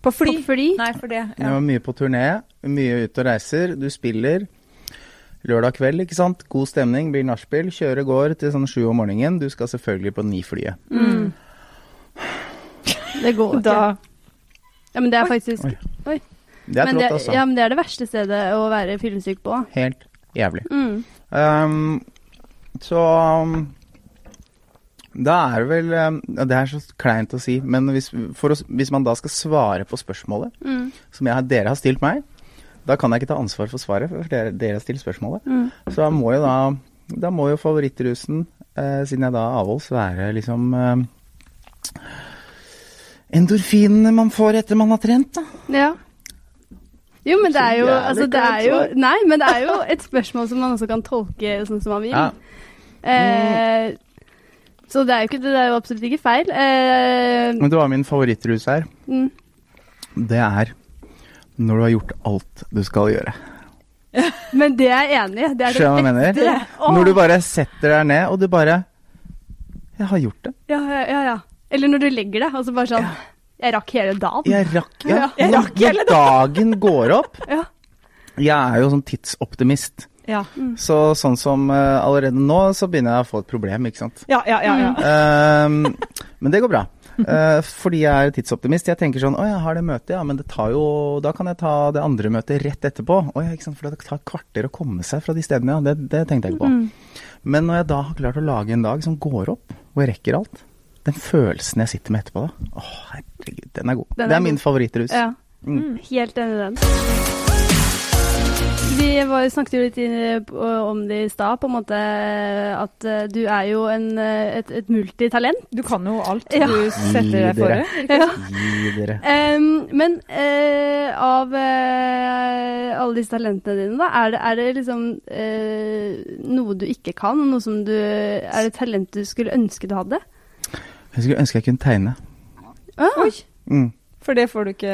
På fly?
På fly?
Nei, for det.
Jeg
Ja.
var mye på turné, mye ute og reiser. Du spiller lørdag kveld, ikke sant. God stemning, blir nachspiel. Kjøret går til sånn sju om morgenen. Du skal selvfølgelig på Ni-flyet.
Mm. Det går ikke.
Da
Ja, men det er faktisk
Oi.
Oi.
Det er
men, det,
trått, altså.
ja, men det er det verste stedet å være fyllesyk på.
Helt jævlig.
Mm.
Ehm, så um, da er det vel um, ja, Det er så kleint å si, men hvis, for å, hvis man da skal svare på spørsmålet
Mm.
som jeg, dere har stilt meg, da kan jeg ikke ta ansvar for svaret, for dere, dere har stilt spørsmålet.
Mm.
Så da må jo da Da må jo favorittrusen, eh, siden jeg da er avholds, være liksom eh, Endorfinene man får etter man har trent, da.
Ja. Jo, men det er jo,
jævlig
altså, det er
kleint
jo
svar.
Nei, men det er jo et spørsmål som man også kan tolke sånn som man vil.
Ja.
Eh, Så det er jo, ikke, det er jo absolutt ikke feil. Eh,
Men det var min favorittrus her.
mm.
Det er når du har gjort alt du skal gjøre.
men det er jeg enig i. Det er det
Skjønner du hva jeg
ekte. Åh,
Når du bare setter deg ned, og du bare Jeg har gjort det.
ja, ja, ja, ja. Eller når du legger deg, og så bare sånn Jeg rakk hele dagen.
Jeg rakk, ja.
Ja, jeg
Når-
rakk hele
Når dagen går opp
[LAUGHS] Ja.
Jeg er jo sånn tidsoptimist.
Ja.
Så sånn som eh, allerede nå, så begynner jeg å få et problem, ikke sant.
Ja, ja, ja. ja.
Ehm, men det går bra. Eh, fordi jeg er tidsoptimist. Jeg tenker sånn Å, jeg har det møtet, ja, men det tar jo Da kan jeg ta det andre møtet rett etterpå. Å ja, ikke sant. For det tar et kvarter å komme seg fra de stedene, ja. Det, det tenkte jeg ikke på.
Mm.
Men når jeg da har klart å lage en dag som går opp, hvor jeg rekker alt Den følelsen jeg sitter med etterpå da, å herregud, den er god.
Den
det
er
er min
god.
favorittrus.
Ja.
Mm.
Helt enig i den. Vi var, snakket jo litt inn- eh, om det i stad, på en måte at eh, du er jo en, eh, et, et multitalent.
Du kan jo alt
Ja.
du setter deg
Gi dere.
for.
Ja.
Gi dere.
Em, men eh, av eh, alle disse talentene dine, da, er det, er det liksom eh, noe du ikke kan? Noe som du Er det et talent du skulle ønske du hadde?
Jeg skulle ønske jeg kunne tegne.
Ah,
Oi.
Mm.
For det får du ikke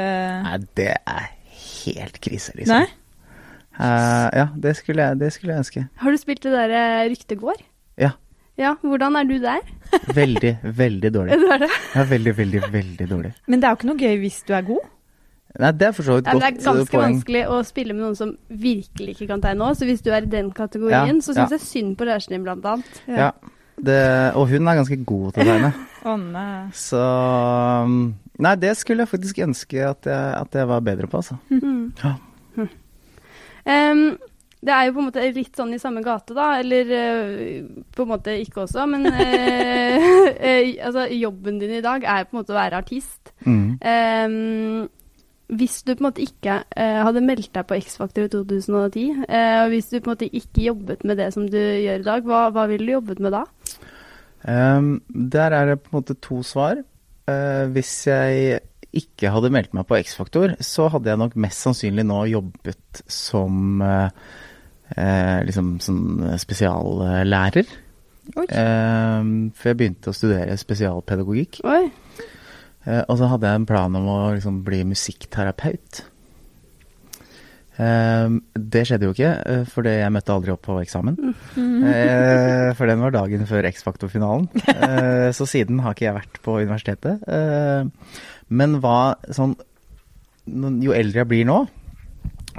Nei, det er helt krise, liksom.
Nei?
Eh, ja, det skulle, jeg, det skulle jeg ønske.
Har du spilt det derre Ryktet går?
Ja.
Ja, hvordan er du der?
Veldig, veldig dårlig.
[LAUGHS] Du er det?
Ja, veldig, veldig, veldig dårlig.
Men det er jo ikke noe gøy hvis du er god.
Nei, det er for så vidt
Ja, men det er
godt eh,
ganske
poeng.
vanskelig å spille med noen som virkelig ikke kan tegne òg, så hvis du er i den kategorien,
Ja,
så syns
ja.
jeg synd på læreren din, blant annet.
Ja. Det, og hun er ganske god til å tegne.
Å nei.
Så um, Nei, det skulle jeg faktisk ønske at jeg, at jeg var bedre på, altså.
Mhm.
Ja.
Ehm, det er jo på en måte litt sånn i samme gate, da, eller eh, på en måte ikke også,
[LAUGHS]
men eh, eh, altså, jobben din i dag er på en måte å være artist.
Mm.
Ehm, hvis du på en måte ikke eh, hadde meldt deg på X-Factor i 2010, eh, og hvis du på en måte ikke jobbet med det som du gjør i dag, hva, hva ville du jobbet med da?
Um, der er det på en måte to svar. Eh, hvis jeg ikke hadde meldt meg på X-Faktor, så hadde jeg nok mest sannsynlig nå jobbet som eh, eh, liksom sånn spesiallærer.
Oi.
Eh, for jeg begynte å studere spesialpedagogikk.
Oi.
Eh, og så hadde jeg en plan om å liksom, bli musikkterapeut. Eh, det skjedde jo ikke, eh, for det- jeg møtte aldri opp på eksamen. Eh, for den var dagen før X-Faktor-finalen. Eh, så siden har ikke jeg vært på universitetet. Eh, men hva sånn nå- Jo eldre jeg blir nå,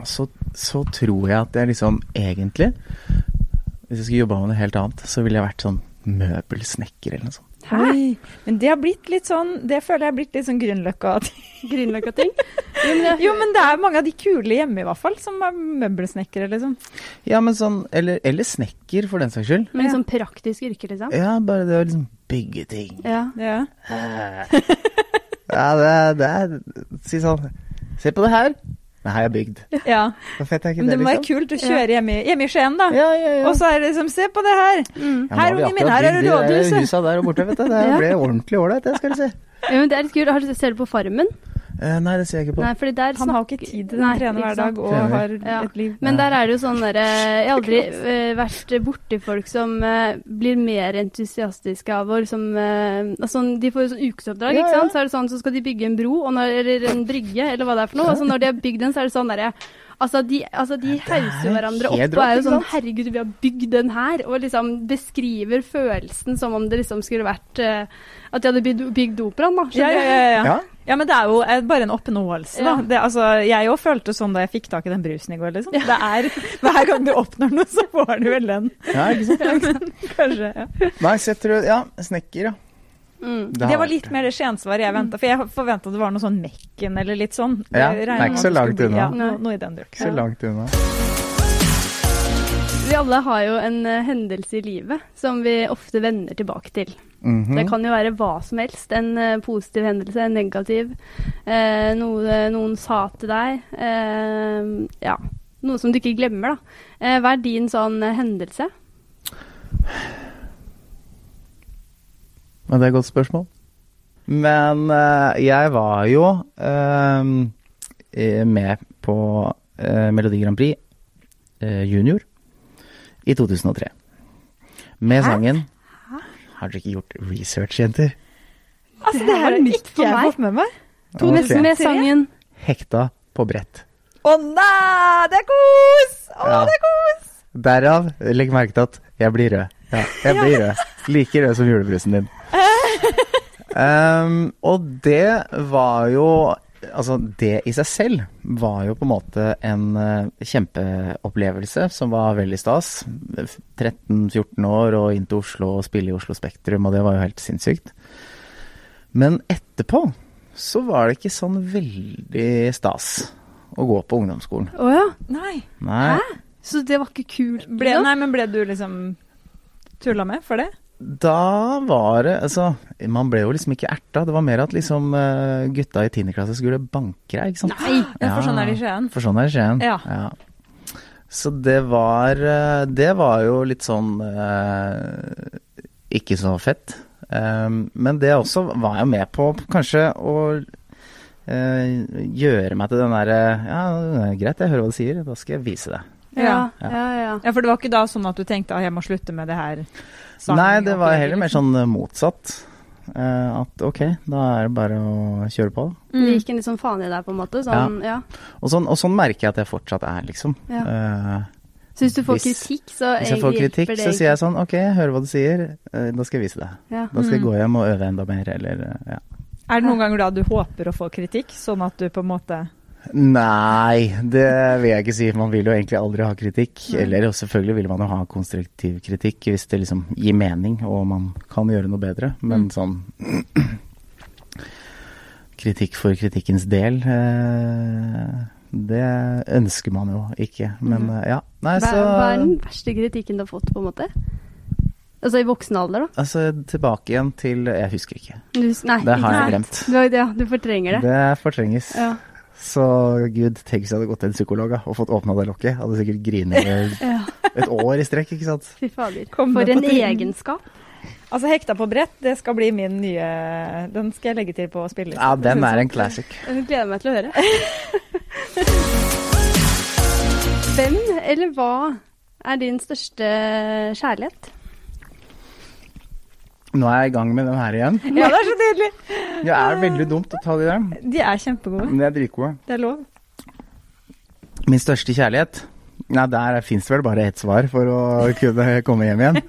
så, så tror jeg at jeg liksom egentlig Hvis jeg skulle jobba med noe helt annet, så ville jeg vært sånn møbelsnekker eller noe sånt.
Oi. Men det har blitt litt sånn Det føler jeg har blitt litt sånn Grünerløkka.
Grünerløkka-ting? Jo, men jeg-
[LAUGHS] Jo, men det er mange av de kule hjemme i hvert fall, som er møbelsnekkere, liksom.
Ja, men sånn, eller, eller snekker, for den saks skyld.
Men
Ja.
sånn praktisk yrke, liksom?
Ja, bare det å liksom bygge ting.
Ja.
Ja.
Ja, det, er- det er Si sånn Se på det her. Det her er bygd.
ja.
Hvor fett er ikke
Men
det,
det må være
liksom?
kult å kjøre hjemme, i- hjemme i Skien, da.
Ja, ja, ja.
Og så er det liksom Se på det her!
Mm.
Ja, nå
Her,
har vi
ungen min,
akkurat
her er
bygd
det
de der
rådhuset!
Husa der og borte, vet du.
[LAUGHS]
Det
Ja.
ble ordentlig ålreit, det skal du se.
Ja, men det er litt kult. Har du Ser du på Farmen?
Eh, nei, det ser jeg ikke på.
Nei, fordi der
Han har jo
snakker-
ikke tid til
Nei,
å trene
ikke
hver dag
sant.
og
Trener.
har
Ja.
et liv.
Men der er det jo sånn derre Jeg har aldri eh, vært borti folk som eh, blir mer entusiastiske av å liksom eh, altså, De får jo sånn ukesoppdrag,
Ja,
ikke
ja.
sant. Så er det sånn, så skal de bygge en bro, og når, eller en brygge, eller hva det er for noe. Og så når de har bygd den, så er det sånn derre Altså, de, altså, de hauser jo hverandre opp
helt
og er jo
rått, ikke
sånn
sant?
'Herregud, vi har bygd den her.' Og liksom beskriver følelsen som om det liksom skulle vært eh, At de hadde bygd, bygd operaen, da.
ja, ja,
Skjønner du?
ja, ja.
Ja.
ja, men det er jo eh, bare en oppnåelse, da.
Ja.
Det, altså, jeg òg følte sånn da jeg fikk tak i den brusen i går, liksom. Det er, hver gang du oppnår noe, så får du vel den.
Ja, ikke sant?
[LAUGHS] Kanskje. Ja.
Nei, setter du Ja, snekker, ja.
Mm.
har
Det var
vært
litt mer det skjensvaret jeg venta, for jeg forventa det var noe sånn Mekken eller litt sånn.
Ja,
Jeg
det er
regner
ikke
med at det
så
skulle
langt
bli-
unna.
Ja, noe, noe i den
Ikke
duren.
så langt unna.
Vi alle har jo en eh, hendelse i livet som vi ofte vender tilbake til.
Mhm.
Det kan jo være hva som helst. En eh, positiv hendelse, en negativ. eh, noe noen sa til deg. eh, ja. Noe som du ikke glemmer, da. Eh, hva er din sånn eh, hendelse?
Men det er et godt spørsmål. Men eh, jeg var jo ehm, eh, med på eh, Melodi Grand Prix eh, junior i 2003. Med sangen Har dere ikke gjort research, jenter?
Altså, det her
er
er nytt
ikke
for
jeg
meg. Fått med meg.
To
Ok.
nesten med sangen.
Hekta på brett.
Å nei, det er kos! Å,
Ja.
det er kos!
Derav, legg merke til at jeg blir rød. Ja, jeg blir rød. Like rød som julebrusen din. Ehm, og det var jo Altså, det i seg selv var jo på en måte en eh, kjempeopplevelse som var veldig stas. 13-14 år og inn til Oslo og spille i Oslo Spektrum, og det var jo helt sinnssykt. Men etterpå så var det ikke sånn veldig stas å gå på ungdomsskolen.
Å ja.
Nei.
Nei.
Så det var ikke kult?
Ble,
liksom?
nei, men ble du liksom tulla med for det?
Da var det Altså, man ble jo liksom ikke erta. Det var mer at liksom eh, gutta i 10. klasse skulle banke deg, ikke sant.
Nei.
Ja, for sånn er det i
Ja,
Skien.
For sånn er det i Skien.
Ja.
Så det var eh, Det var jo litt sånn eh, Ikke så fett. Um, men det også var jeg med på, kanskje å eh, gjøre meg til den derre Ja, greit, jeg hører hva du sier, da skal jeg vise deg.
Ja,
Ja.
ja, ja.
Ja, for det var ikke da sånn at du tenkte at jeg må slutte med det her?
Nei, det var heller mer sånn eh, motsatt. Eh, at ok, da er det bare å kjøre på. da.
Mm.
Det gikk en litt sånn faen i deg, på en måte. Sånn, ja.
Og sånn, og sånn merker jeg at jeg fortsatt er, liksom.
Ja.
Eh,
Så hvis du får
Hvis-
kritikk, så
hvis jeg får kritikk, så sier
det.
jeg sånn ok, jeg hører hva du sier, eh, da skal jeg vise deg.
Ja.
Da skal jeg
Mm.
gå hjem og øve enda mer, eller eh, ja.
Er det noen ganger da du håper å få kritikk, sånn at du på en måte
Nei, det vil jeg ikke si. Man vil jo egentlig aldri ha kritikk. Eller jo, selvfølgelig vil man jo ha konstruktiv kritikk hvis det liksom gir mening og man kan gjøre noe bedre.
Mm.
Men sånn [CLEARS THROAT] Kritikk for kritikkens del, eh, det ønsker man jo ikke. Men eh, ja. Nei,
Mm. Hva, hva er
så
den verste kritikken du har fått, på en måte? Altså i voksen alder, da?
Altså, tilbake igjen til Jeg husker ikke.
Du, nei,
Det har
ikke
jeg
sant.
glemt.
Du, har- ja, du fortrenger det.
Det fortrenges.
Ja.
Så gud, tenk hvis jeg hadde gått til en psykolog da, og fått åpna det lokket. Jeg Hadde sikkert grinet
ja.
et år i strekk, ikke sant.
Fy fader.
Kom
For
det på
en
trynet.
egenskap.
Altså, hekta på brett, det skal bli min nye Den skal jeg legge til på spillelisten.
Ja, den er en classic.
Jeg gleder meg til å høre. [LAUGHS] Hvem eller hva er din største kjærlighet?
Nå er jeg i gang med den her igjen.
Ja, det er så nydelig!
Det er veldig dumt å ta de der, men
De er kjempegode.
de er dritgode.
Det er lov.
Min største kjærlighet? Nei, der fins det vel bare ett svar for å kunne komme hjem igjen.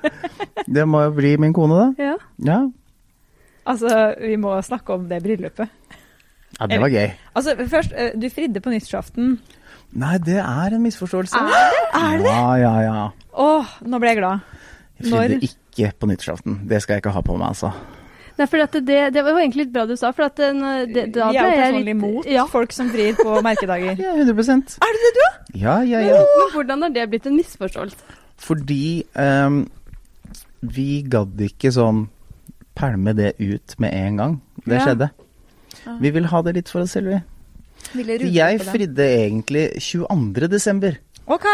Det må jo bli min kone, da.
Ja.
Ja,
Altså, vi må snakke om det bryllupet.
ja det var gøy.
Altså, først, eh, du fridde på nyttårsaften.
Nei, det er en misforståelse. Er det? Ja, ja, ja.
Åh, nå ble jeg glad.
Jeg Fridde
Når?
ikke på nyttårsaften. Det skal jeg ikke ha på meg, altså.
Nei, for at det, det var jo egentlig litt bra du sa, for at den, det, da
jeg er jo
ble jeg
personlig
litt
imot
Ja.
folk som frir på merkedager.
Ja, 100
[LAUGHS] Er det det du er?
Ja, ja, ja.
Men hvordan har det blitt en misforståelse?
Fordi ehm, vi gadd ikke sånn pælme det ut med en gang. Det
Ja.
skjedde. Vi vil ha det litt for oss selv, vi.
Ville
Så Jeg fridde egentlig 22. desember.
OK.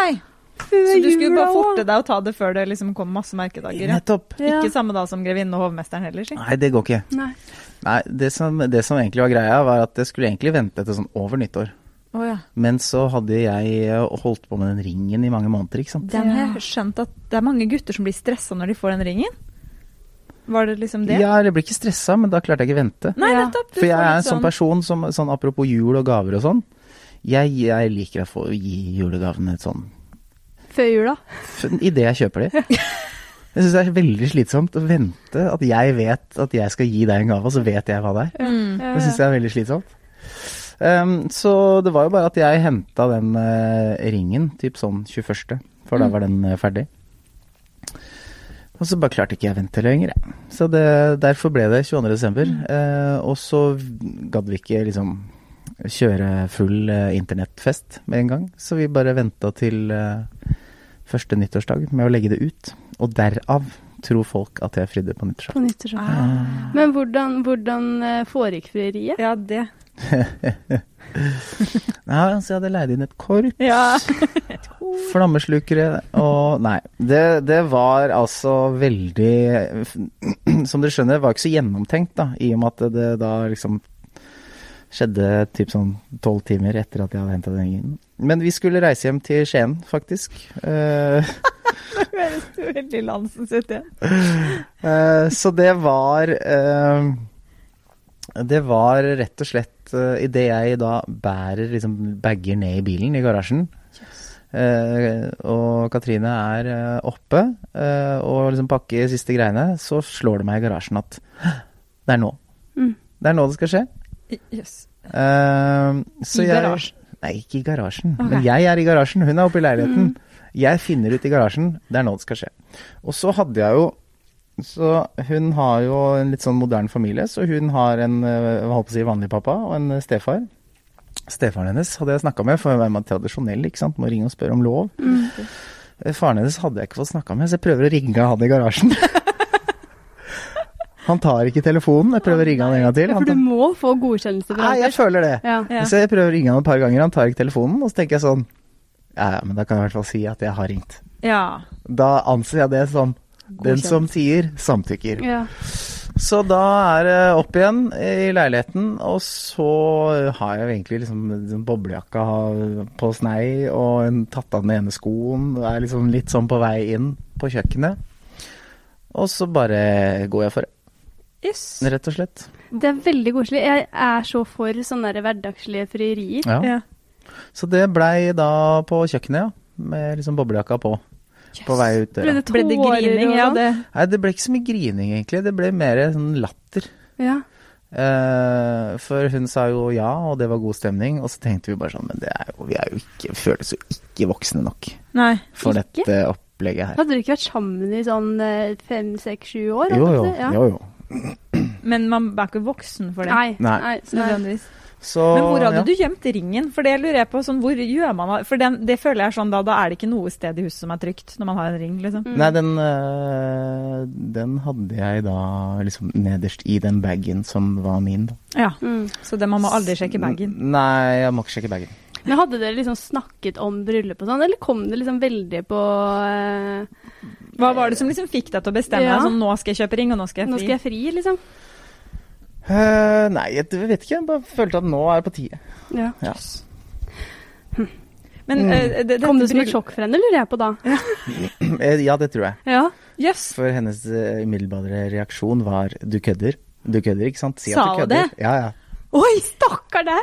Så du skulle bare forte deg å ta det før det liksom kom masse merkedager? Ja.
Nettopp.
Ja.
Ikke samme da som grevinne og hovmesteren heller, si.
Nei, det går ikke.
Nei.
Nei, det som, det som egentlig var greia, var at jeg skulle egentlig vente til sånn over nyttår.
Oh, ja.
Men så hadde jeg eh, holdt på med den ringen i mange måneder, ikke sant.
Den har
Ja.
jeg skjønt at det er mange gutter som blir stressa når de får den ringen. Var det liksom det?
Ja, jeg ble ikke stressa, men da klarte jeg ikke vente.
Nei,
Ja.
nettopp. du
For jeg
får
er en
litt
sånn person som sånn apropos jul og gaver og sånn. Jeg, jeg liker å få gi julegavene et sånn
Før jula.
idet jeg kjøper de. Jeg syns det er veldig slitsomt å vente at jeg vet at jeg skal gi deg en gave, og så vet jeg hva det er.
Mm.
Ja,
Det syns jeg er veldig slitsomt. Ehm, så det var jo bare at jeg henta den eh, ringen typ sånn 21., for da var den eh, ferdig. Og så bare klarte ikke jeg å vente lenger, jeg. Så det, derfor ble det 22. desember. Eh, og så gadd vi ikke liksom kjøre full eh, internettfest med en gang, så vi bare venta til eh, første nyttårsdag med å legge det ut. Og derav tror folk at jeg fridde på nyttårsdag.
På nyttårsaften.
Sånn.
Ah.
Men hvordan, hvordan eh, foregikk frieriet?
Ja, det.
Nei, altså jeg hadde leid inn et korps.
[LAUGHS]
Ja. [LAUGHS]
Flammeslukere og Nei. Det, det var altså veldig [CLEARS THROAT] Som dere skjønner, var ikke så gjennomtenkt, da. I og med at det da liksom skjedde typ sånn tolv timer etter at jeg hadde henta den ringen. Men vi skulle reise hjem til Skien, faktisk. Eh,
Det høres jo veldig Lansens ut, det.
Eh, så det var eh, Det var rett og slett uh, idet jeg da bærer liksom bager ned i bilen i garasjen. eh, og Katrine er eh, oppe eh, og liksom pakker siste greiene. Så slår det meg i garasjen at «Hæ, det er nå.
Mm.
Det er nå det skal skje.
Jøss.
Eh, så
I
jeg-
garasjen?
Nei, ikke i garasjen.
Ok.
Men jeg er i garasjen, hun er oppe i leiligheten.
Mm.
Jeg finner ut i garasjen, det er nå det skal skje. Og så hadde jeg jo Så hun har jo en litt sånn moderne familie, så hun har en eh, hva holdt på å si, vanlig pappa og en eh, stefar. Stefaren hennes hadde jeg snakka med, for hun er mer tradisjonell, ikke sant. Må ringe og spørre om lov.
Mm,
Eh, Faren hennes hadde jeg ikke fått snakka med, så jeg prøver å ringe han i
[LAUGHS]
garasjen. han tar ikke telefonen, jeg prøver å ringe han en gang til.
Ja,
Han Ah,
for
tar...
du må få godkjennelse fra
Nei, jeg føler det.
Ja.
Ja.
Så jeg prøver å ringe han et par ganger, han tar ikke telefonen, og så tenker jeg sånn Ja, ja, men da kan jeg i hvert fall si at jeg har ringt.
Ja.
Da anser jeg det som den
Godkjent.
som sier, samtykker.
Ja.
Så da er det opp igjen i leiligheten, og så har jeg jo egentlig liksom en boblejakka på snei og en tatt av den ene skoen, og er liksom litt sånn på vei inn på kjøkkenet. Og så bare går jeg for det,
Jøss.
rett og slett.
Det er veldig koselig. Jeg er så for sånne der hverdagslige frierier.
Ja.
Ja.
Så det blei da på kjøkkenet, ja. Med liksom boblejakka på. På vei ut
Ble
døra.
det
Ble det
tårer
grining?
og
Ja,
sånn?
det
Nei, det ble ikke så mye grining, egentlig. Det ble mer sånn latter.
Ja.
Eh, for hun sa jo ja, og det var god stemning. Og så tenkte vi bare sånn, men det er jo, vi er jo ikke, føles jo ikke voksne nok
Nei.
for
Ikke?
dette opplegget her.
Hadde dere ikke vært sammen i sånn eh, fem, seks, sju år?
Jo, jo.
altså? Ja.
jo, jo.
Men man er ikke voksen for det.
Nei.
Nei.
nei, nei.
Nødvendigvis.
Så
Men hvor hadde
ja.
du gjemt ringen? For det lurer jeg på. Sånn, hvor gjør man av- For den, det føler jeg er sånn da, da er det ikke noe sted i huset som er trygt, når man har en ring, liksom.
Mm.
Nei, den, eh, den hadde jeg da liksom nederst i den bagen som var min. da.
Ja.
Mm.
Så det, man må aldri
Mm.
sjekke bagen.
N- Nei, jeg må ikke sjekke bagen.
Men hadde dere liksom snakket om bryllup og sånn, eller kom det liksom veldig på eh,
Hva var det som liksom fikk deg til å bestemme
Ja.
deg sånn nå skal jeg kjøpe ring, og nå skal jeg
Nå
fri?
skal jeg fri, liksom?
Eh, nei, jeg vet ikke. Jeg bare følte at nå er det på tide.
Ja.
Ja. [CLEARS THROAT]
Men
Mm.
eh, det,
Kom det som et
bryllup-
sjokk for henne, lurer jeg på da.
Eh, Ja, det tror jeg.
Ja.
Jøss.
For hennes eh, umiddelbare reaksjon var 'du kødder'. Du kødder, ikke sant?
Sa
du
hun
kødder.
det?
Ja, ja.
Oi, stakkar deg!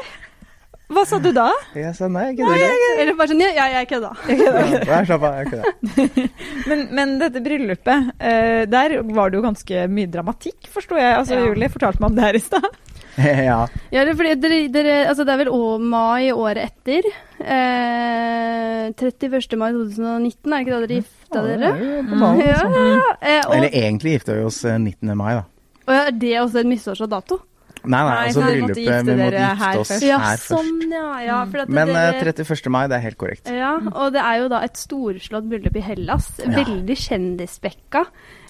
Hva sa du da?
Jeg sa nei, jeg kødder ikke.
Eller bare sånn, ja, ja jeg kødda.
Ja, Nei, slapp av, jeg kødder. [LAUGHS]
Men, men dette bryllupet, eh, der var det jo ganske mye dramatikk, forsto jeg. Altså,
Ja.
Julie fortalte meg om det her i stad.
ja.
Ja, det er fordi dere, dere, altså det er vel å, mai året etter. Eh, 31. mai 2019, er det ikke da dere gifta dere?
Ja,
[LAUGHS] Ja,
ja.
ja, ja. Eh,
sånn.
Mm.
[LAUGHS] Eller
og,
egentlig gifta vi oss eh, 19. mai, da.
og er det også en misforstått dato?
Nei, nei,
Nei,
altså
for vi måtte
bryllupet Vi
gifte
måtte
dere her
gifte oss
først.
Ja,
her
sånn,
først.
ja. ja for at
Men eh,
dere,
31. mai, det er helt korrekt.
ja, og det er jo da et storslått bryllup i Hellas. Veldig kjendisspekka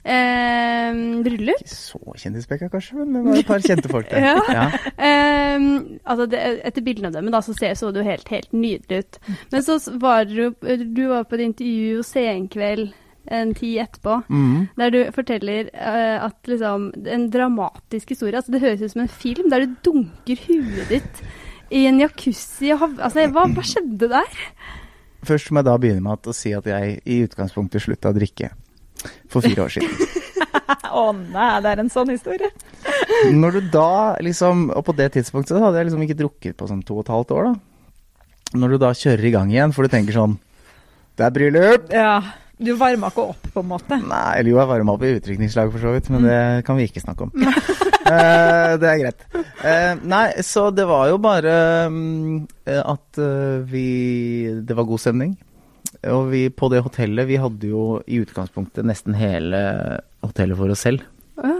eh, bryllup.
Ikke så kjendisbekka, kanskje, men det var et par kjente folk
[LAUGHS]
der.
Ja.
Ja.
Eh, altså det, etter bildene av dem da, så ser- så det jo helt, helt nydelig ut. Men så var du, du var på et intervju hos Senkveld en tid etterpå.
Mm.
Der du forteller eh, at liksom En dramatisk historie. Altså, det høres ut som en film der du dunker huet ditt i en jacuzzi. og hav- Altså, hva, hva skjedde der?
Først må jeg da begynne med at- å si at jeg i utgangspunktet slutta å drikke for fire år siden.
Å nei, det er en sånn historie.
Når du da liksom Og på det tidspunktet så hadde jeg liksom ikke drukket på sånn to og et halvt år, da. Når du da kjører i gang igjen, for du tenker sånn Det er bryllup!
Ja. Du varma ikke opp, på en måte.
Nei, eller jo, jeg varma opp i utdrikningslaget for så vidt, men det kan vi ikke snakke om. [LAUGHS] Eh, det er greit. Eh, nei, så det var jo bare mm, eh, at eh, vi Det var god stemning. Og vi på det hotellet Vi hadde jo i utgangspunktet nesten hele hotellet for oss selv.
Å ja.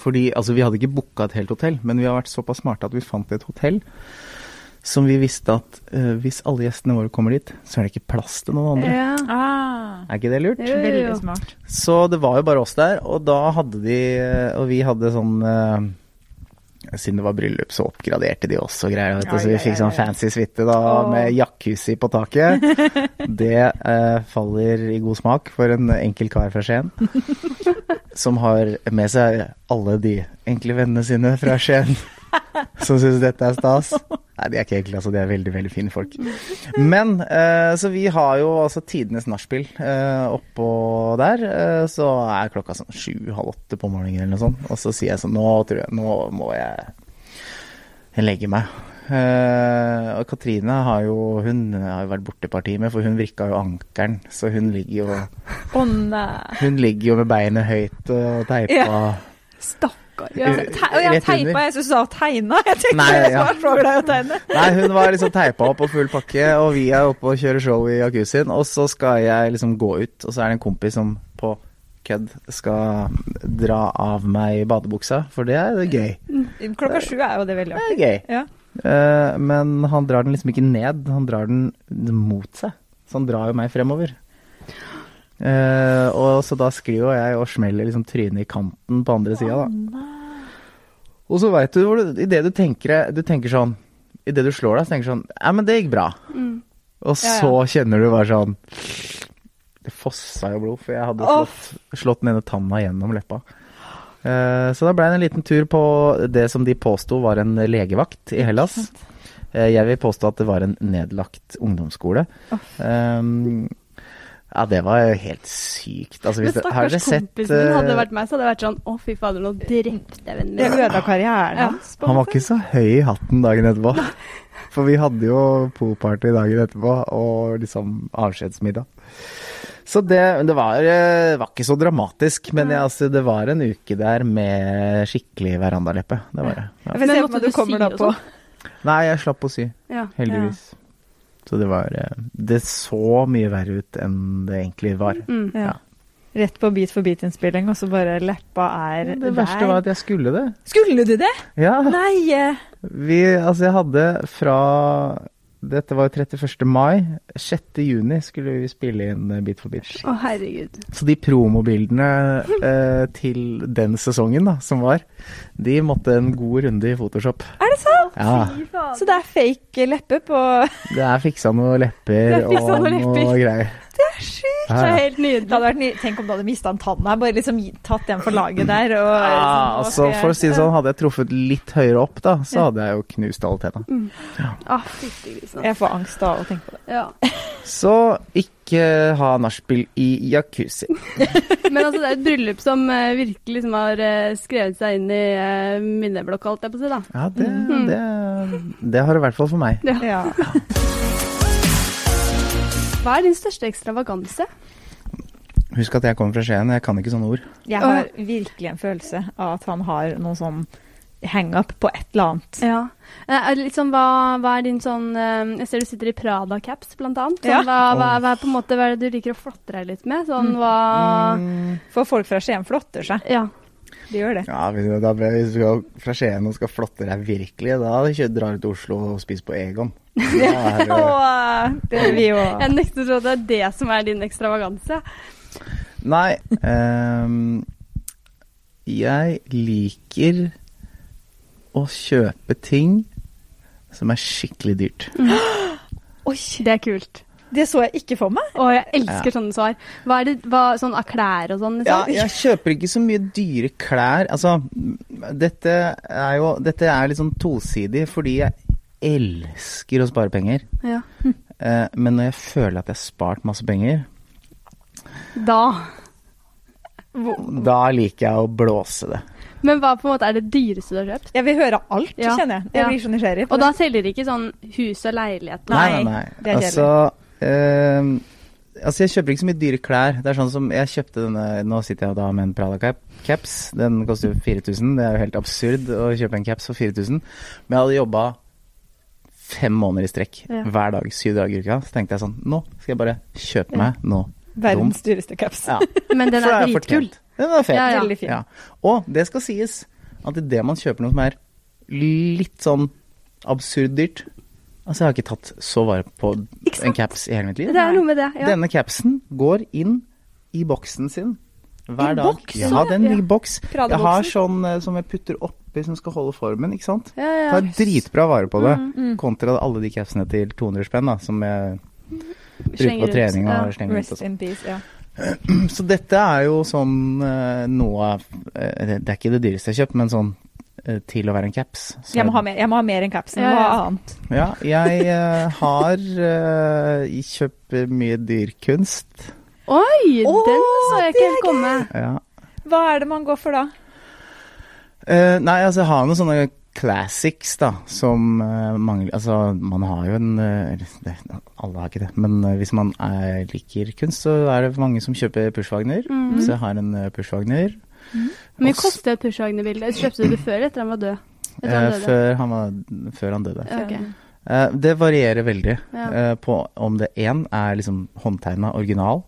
Fordi, altså Vi hadde ikke booka et helt hotell, men vi har vært såpass smarte at vi fant et hotell som vi visste at eh, hvis alle gjestene våre kommer dit, så er det ikke plass til noen andre.
Ja.
Ah,
Er ikke det lurt?
Jo, jo, jo.
veldig smart.
Så det var jo bare oss der, og da hadde de eh, Og vi hadde sånn eh, Siden det var bryllup, så oppgraderte de oss og greier. Vet du,
Ja,
så vi
ja,
fikk
ja,
sånn
ja.
fancy suite da,
Åh.
med jacuzzi på taket. Det eh, faller i god smak for en enkel kar fra Skien. Som har med seg alle de enkle vennene sine fra Skien som syns dette er stas. Nei, de er ikke ekle, altså. De er veldig, veldig fine folk. Men eh, så vi har jo altså tidenes nachspiel eh, oppå der. Eh, så er klokka sånn sju-halv åtte på morgenen eller noe sånt. Og så sier jeg sånn Nå tror jeg Nå må jeg legge meg. Eh, og Katrine har jo Hun har jo vært borte et par timer, for hun vrikka jo ankelen. Så hun ligger jo
Å nei.
Hun ligger jo med beinet høyt og teipa.
Ja. Stakkar. Ja.
Eh,
Te og jeg
rett under.
teipa, jeg syns du sa tegna. Jeg tenkte
Nei,
jeg
ja.
var så glad i å tegne.
Nei, hun var liksom teipa opp og full pakke, og vi er oppe og kjører show i jacuzzien. Og så skal jeg liksom gå ut, og så er det en kompis som på kødd skal dra av meg badebuksa, for det er gøy.
Klokka sju er jo det veldig
Det
artig.
er gøy.
Ja.
Eh, men han drar den liksom ikke ned, han drar den mot seg. Så han drar jo meg fremover. Eh, og så da sklir jo jeg og smeller liksom trynet i kanten på andre sida, da. Og så veit du hvor du Idet du tenker Du tenker sånn Idet du slår deg, så tenker du sånn Ja, men det gikk bra.
Mm.
Og
Ja, ja.
så kjenner du bare sånn Det fossa jo blod, for jeg hadde
Åh.
slått, slått den ene tanna gjennom leppa. Eh, Så da ble det en liten tur på det som de påsto var en legevakt i Hellas. Eh, Jeg vil påstå at det var en nedlagt ungdomsskole. Um, ja, det var jo helt sykt. Altså,
Men
hvis det, har dere
stakkars
sett
kompisen min, hadde det
eh,
vært meg, så hadde det vært sånn Å, fy fader, nå drepte jeg vennen
Det
min.
ødela karrieren
Ja.
hans. på en
Han var
måte.
ikke så høy i hatten dagen etterpå. [LAUGHS] For vi hadde jo poolparty dagen etterpå, og liksom avskjedsmiddag. Så det, det var, eh, var ikke så dramatisk, men jeg, altså, det var en uke der med skikkelig verandaleppe. Det var det. Ja.
Jeg får se
Men
på
måtte
meg du
du
kommer
sy
da
og
på.
sånn?
Nei, jeg slapp å sy.
Ja.
Heldigvis. Så det var eh, Det så mye verre ut enn det egentlig var.
Mm.
Ja.
Ja.
Rett på Beat for beat-innspilling, og så bare leppa er
Det verste var at jeg skulle det.
Skulle du det?
Ja.
Nei! eh,
Vi Altså, jeg hadde fra Dette var jo 31. mai. 6. juni skulle vi spille inn eh, Bit for bit.
Å, herregud.
Så de promobildene eh, til den sesongen da, som var, de måtte en god runde i Photoshop.
Er det sant?
Ja.
Så det er fake leppe på
[LAUGHS] Det er fiksa
Det
noen lepper
er fiksa
og
noen lepper.
noe greier.
Sjukt!
Ja,
Det er
ja.
helt nydelig.
Det hadde vært ny... Tenk om du hadde mista en tann her, bare liksom gi- tatt den for laget der. Og,
Ah,
liksom,
altså,
og-
for å si det sånn, hadde jeg truffet litt høyere opp, da, så hadde jeg jo knust alle tenna.
Mm.
Å, fytti grisen.
Jeg får angst av å tenke på det.
Ja.
Så ikke ha nachspiel i jacuzzi.
Men altså, det er et bryllup som eh, virkelig liksom, har eh, skrevet seg inn i eh, minneblokka, holdt jeg på å si, da.
Ja, det, det, det har det i hvert fall for meg.
Ja.
Ja.
Hva er din største ekstravaganse?
Husk at jeg kommer fra Skien, jeg kan ikke sånne ord.
Jeg har virkelig en følelse av at han har noe sånn hang-up på et eller annet.
Ja. Eh, er det litt sånn, hva, hva er din sånn eh, Jeg ser du sitter i Prada-caps, blant annet. Sånn,
Ja.
hva, hva, hva, er på en måte, hva er det du liker å flotte deg litt med? Sånn hva
Mm.
For folk fra Skien flotter seg.
Ja.
De gjør det.
Ja, hvis, da, hvis du skal fra Skien og skal flotte deg virkelig, da kjører, drar du til Oslo og spiser på Egon. Da er det,
Og eh, det vil vi jo
Jeg nekter å tro at det er det som er din ekstravaganse.
Nei. ehm, jeg liker å kjøpe ting som er skikkelig dyrt.
Oi,
Det er kult.
det så jeg ikke for meg.
Å, jeg elsker sånne svar. Hva er det, hva, sånn av klær og sånn?
Ja,
Liksom?
jeg kjøper ikke så mye dyre klær. Altså, dette er jo Dette er litt sånn tosidig, fordi jeg elsker å spare penger.
Ja.
Eh, men når jeg føler at jeg har spart masse penger,
Da.
da liker jeg å blåse det.
Men hva på en måte er det dyreste du har kjøpt?
Jeg vil høre alt,
Ja.
kjenner jeg. Jeg
Ja.
blir så nysgjerrig. på det.
Og da teller ikke sånn hus og leilighet?
Nei, det er
altså, ehm, altså, jeg kjøper ikke så mye dyre klær. Det er sånn som jeg kjøpte denne Nå sitter jeg da med en Prada cap, caps. Den koster jo 4000. Det er jo helt absurd å kjøpe en caps for 4000. Men jeg hadde jobba fem måneder i strekk
Ja.
hver dag, syv dager i uka. Så tenkte jeg sånn Nå skal jeg bare kjøpe meg noe dumt.
Verdens dyreste caps.
Ja.
[LAUGHS] Men den
For da
er
har jeg
dritkul.
fortjent. Den er fet.
Ja, ja.
Veldig fin.
Ja. Og det skal sies at idet man kjøper noe som er litt sånn absurd dyrt Altså, jeg har ikke tatt så vare på
Ikke sant?
en caps i hele mitt liv.
Det er noe med det. Ja.
Denne capsen går inn i boksen sin hver
I
dag.
boks?
Ja, den
Ja.
ligger i boks. Jeg har
Prada-boksen.
sånn eh, som jeg putter oppi som skal holde formen, ikke sant.
Ja, ja. Mm,
Tar dritbra vare på det, kontra alle de capsene til 200 spenn, da, som jeg bruker
Slenger
på
ut.
trening
Ja.
og slenger ut og
Rest
sånn.
in peace. Ja.
Så dette er jo sånn eh, noe av eh, Det er ikke det dyreste jeg har kjøpt, men sånn eh, til å være en caps. Så
Jeg må ha mer, jeg må ha mer enn capsen. Jeg må
Ja,
ha
ja.
annet.
Ja, jeg eh, har eh, kjøpt mye dyrkunst.
Oi,
Å,
den så jeg ikke
det er
helt komme.
Ja.
Hva er det man går for da?
Eh, nei, altså jeg har noen sånne classics da, som eh, mangler Altså man har jo en eh, eller det, Alle har ikke det, men eh, hvis man eh, liker kunst, så er det mange som kjøper Pushwagner.
Mm.
Så jeg har en eh, Pushwagner.
Hvor mye
Også-
koster et Pushwagner-bilde? Kjøpte du det før eller etter han var død? Etter han
Eh,
døde.
før, han var, før han døde.
Ok.
Eh, det varierer veldig
Ja.
eh, på om det én er liksom håndtegna original,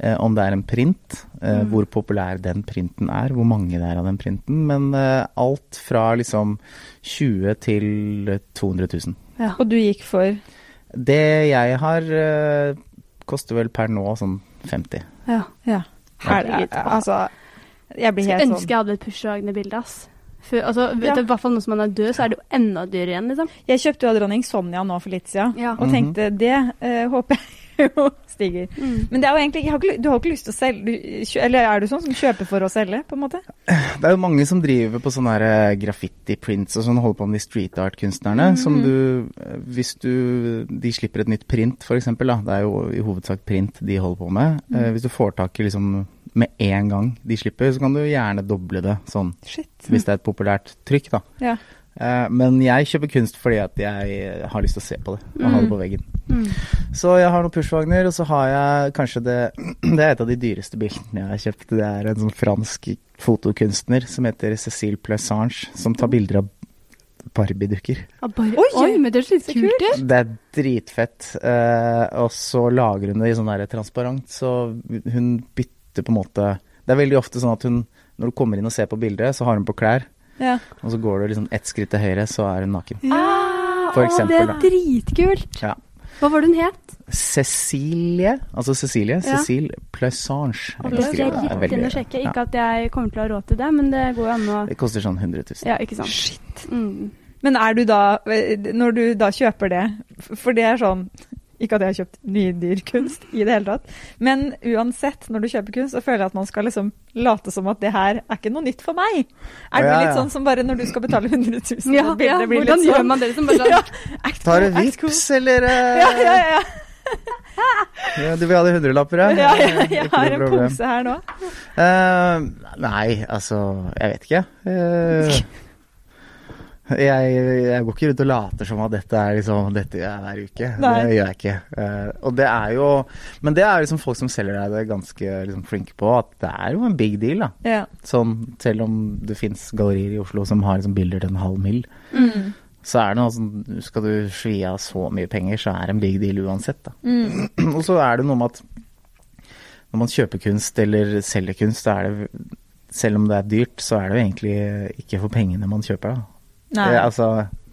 eh, om det er en print, eh,
Mm.
hvor populær den printen er, hvor mange det er av den printen. Men eh, alt fra liksom 20 til 200 000.
Ja.
Og du gikk for
Det jeg har, eh, koster vel per nå sånn 50.
ja.
Ja. Her,
Herregud.
altså Jeg blir
Skulle
helt
ønske
sånn
jeg hadde et Pushwagner-bilde, ass. Før, altså, vet
Ja.
du, I hvert fall nå som han er død, så er det jo enda dyrere igjen, liksom.
sånn. Jeg kjøpte jo av dronning Sonja nå for litt siden,
Ja.
og tenkte det eh, håper jeg jo stiger.
Mm.
Men det er jo egentlig, jeg har ikke, ly- du har jo ikke lyst til å selge du, kjø- Eller er du sånn som kjøper for å selge, på en måte?
Det er jo mange som driver på sånne her, eh, graffiti-prints og sånn, holder på med de street art-kunstnerne. Som du, eh, hvis du De slipper et nytt print, for eksempel, da. Det er jo i hovedsak print de holder på med. Eh, Hvis du får tak i liksom med en gang de slipper, så kan du gjerne doble det sånn.
Shit.
Hvis det er et populært trykk, da.
Ja.
Eh, Men jeg kjøper kunst fordi at jeg har lyst til å se på det, og ha det på veggen.
Mm.
Så jeg har noen Pushwagner, og så har jeg kanskje det [CLEARS THROAT] Det er et av de dyreste bildene jeg har kjøpt. Det er en sånn fransk fotokunstner som heter Cécile Plessange, som tar bilder av Barbie-dukker.
Ja, bare,
Oi,
oi, men det er så litt
så
kult, det.
Det er dritfett. Eh, og så lager hun det i sånn der transparent, så hun bytter på en måte Det er veldig ofte sånn at hun, når du kommer inn og ser på bildet, så har hun på klær,
Ja.
og så går du liksom ett skritt til høyre, så er hun naken.
Ah,
For
å,
eksempel,
det er
da.
dritkult.
Ja.
Hva var det hun het?
Cecilie, altså Cecilie,
Ja.
Cécile Plessange.
Å,
Jeg
det
kan
skal
skrive
jeg
det.
rett inn og
Veldig-
sjekke.
ja.
Ikke at jeg kommer til å ha råd til det, men det går jo an å
Det koster sånn 100 000.
Ja, ikke sant.
Shit.
Mm.
Men er du da Når du da kjøper det f- For det er sånn Ikke at jeg har kjøpt mye dyr kunst i det hele tatt, men uansett, når du kjøper kunst, så føler jeg at man skal liksom late som at det her er ikke noe nytt for meg. Er du
Ja,
litt
ja.
sånn som bare når du skal betale 100 000
Ja,
for et
ja,
bilde, Sånn blir
hvordan
litt
gjør
sånn
man det?
[LAUGHS]
Liksom bare,
Ja.
sånn,
act
Tar du
cool, act cool.
vips, eller eh,
[LAUGHS] Ja, ja, ja.
ja, Du vil ha de hundrelapper,
ja, ja, ja.
Ikke
Jeg
noe
har en
problem.
pose her nå.
Eh, nei, altså Jeg vet ikke. Eh, jeg, jeg går ikke rundt og later som at dette er liksom Dette gjør jeg hver uke.
Nei.
Det gjør jeg ikke. Eh, og det er jo Men det er liksom folk som selger deg det, ganske liksom flinke på. At det er jo en big deal, da.
Ja.
Sånn selv om det fins gallerier i Oslo som har liksom bilder til en halv mill.
Mm.
Så er det noe sånn, skal du svi av så mye penger, så er det en big deal uansett, da.
Mm.
[CLEARS THROAT] Og så er det noe med at når man kjøper kunst eller selger kunst, så er det, selv om det er dyrt, så er det jo egentlig ikke for pengene man kjøper, da.
Nei.
Eh, altså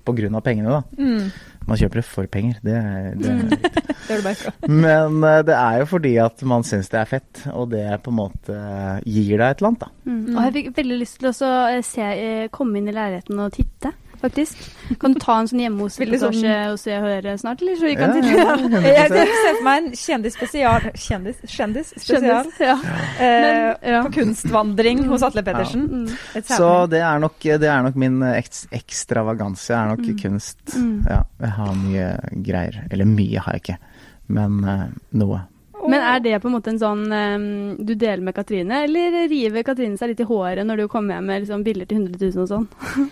på grunn av pengene, da.
Mm.
Man kjøper det for penger, det er, det er
Mm.
Det er du bare fra.
[LAUGHS] Men eh, det er jo fordi at man syns det er fett, og det på en måte gir deg et eller annet, da.
Mm. Og jeg fikk veldig lyst til å så, eh, se, eh, komme inn i leiligheten og titte, faktisk. Kan du ta en sånn hjemme hos
[LAUGHS] Veldig sånn-
reportasje og se og høre snart, eller så vi
Ja,
kan titte? [LAUGHS]
ja,
Jeg
100%.
ser for meg en kjendis spesial Kjendis? Kjendis spesial.
Skjønnes, ja.
Eh,
Men, ja.
På kunstvandring hos Atle Pettersen.
Mm.
Et
Så
særlig.
det er nok, det er nok min eks- ekstravaganse, er nok kunst.
Mm.
Ja, jeg har mye greier. Eller mye har jeg ikke, men eh, noe.
Men er det på en måte en sånn eh, du deler med Katrine, eller river Katrine seg litt i håret når du kommer hjem med liksom, bilder til 100 000 og sånn?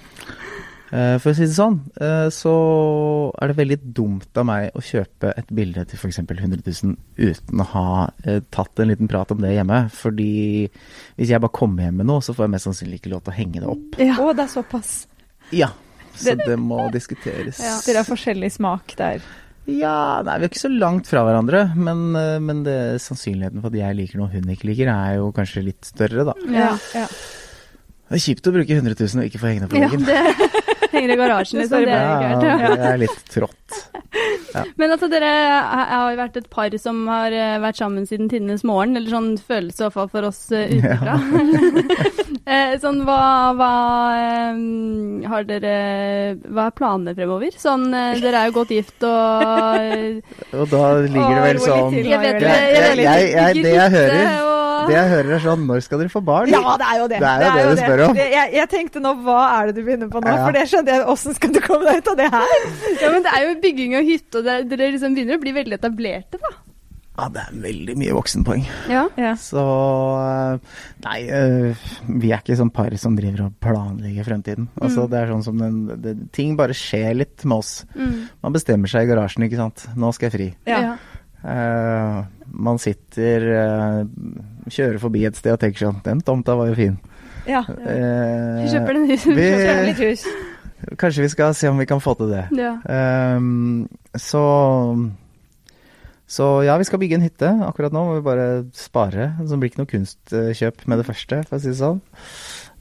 Eh, for å si det sånn, eh, så er det veldig dumt av meg å kjøpe et bilde til f.eks. 100 000 uten å ha eh, tatt en liten prat om det hjemme. Fordi hvis jeg bare kommer hjem med noe, så får jeg mest sannsynlig ikke lov til å henge det opp.
Å, det er såpass.
Ja, så
Det-
det må diskuteres.
Ja.
Dere har forskjellig smak der.
Ja, nei, vi er ikke så langt fra hverandre, men, eh, men det, sannsynligheten for at jeg liker noe hun ikke liker, er jo kanskje litt større, da.
Ja.
ja.
Det er kjipt å bruke 100 000 og ikke få henge det på
Ja,
veggen.
det henger i garasjen, liksom. Det er gøy.
Ja, det er litt trått.
Men at dere er- har jo vært et par som har eh, vært sammen siden tidenes morgen, eller sånn føles det i hvert fall for oss eh, utenfra. Eh, sånn hva, hva eh, har dere Hva er planene fremover? Sånn eh, dere er jo godt gift og
Og da ligger det vel
Å, rolig
sånn
til.
Jeg
Jeg-
vet det.
jeg- jeg- jeg- det jeg hører, det jeg hører er sånn Når skal dere få barn?
Ja, det er jo det.
Det er jo det du spør om.
Det- Jeg, jeg tenkte nå, hva er det du begynner på nå?
Ja.
For det skjønte jeg, åssen skal du komme deg ut av det her?
Ja, men det er jo bygging av hytte, og det, dere liksom begynner å bli veldig etablerte, da.
Ja, det er veldig mye voksenpoeng.
Ja.
Ja.
Så eh, Nei, eh, vi er ikke sånn par som driver og planlegger fremtiden. Altså, Det er sånn som den, det, Ting bare skjer litt med oss.
Mm.
Man bestemmer seg i garasjen, ikke sant. Nå skal jeg fri.
Ja.
Eh, man sitter eh, Kjører forbi et sted og tenker sånn Den tomta var jo fin.
ja.
[LAUGHS]
Eh,
Vi kjøper den husen.
vi-
Kjøpe litt hus.
Kanskje vi skal se om vi kan få til det.
Ja.
Ehm, så så ja, vi skal bygge en hytte. Akkurat nå må vi bare spare. Så det blir ikke noe kunstkjøp med det første, for å si det sånn.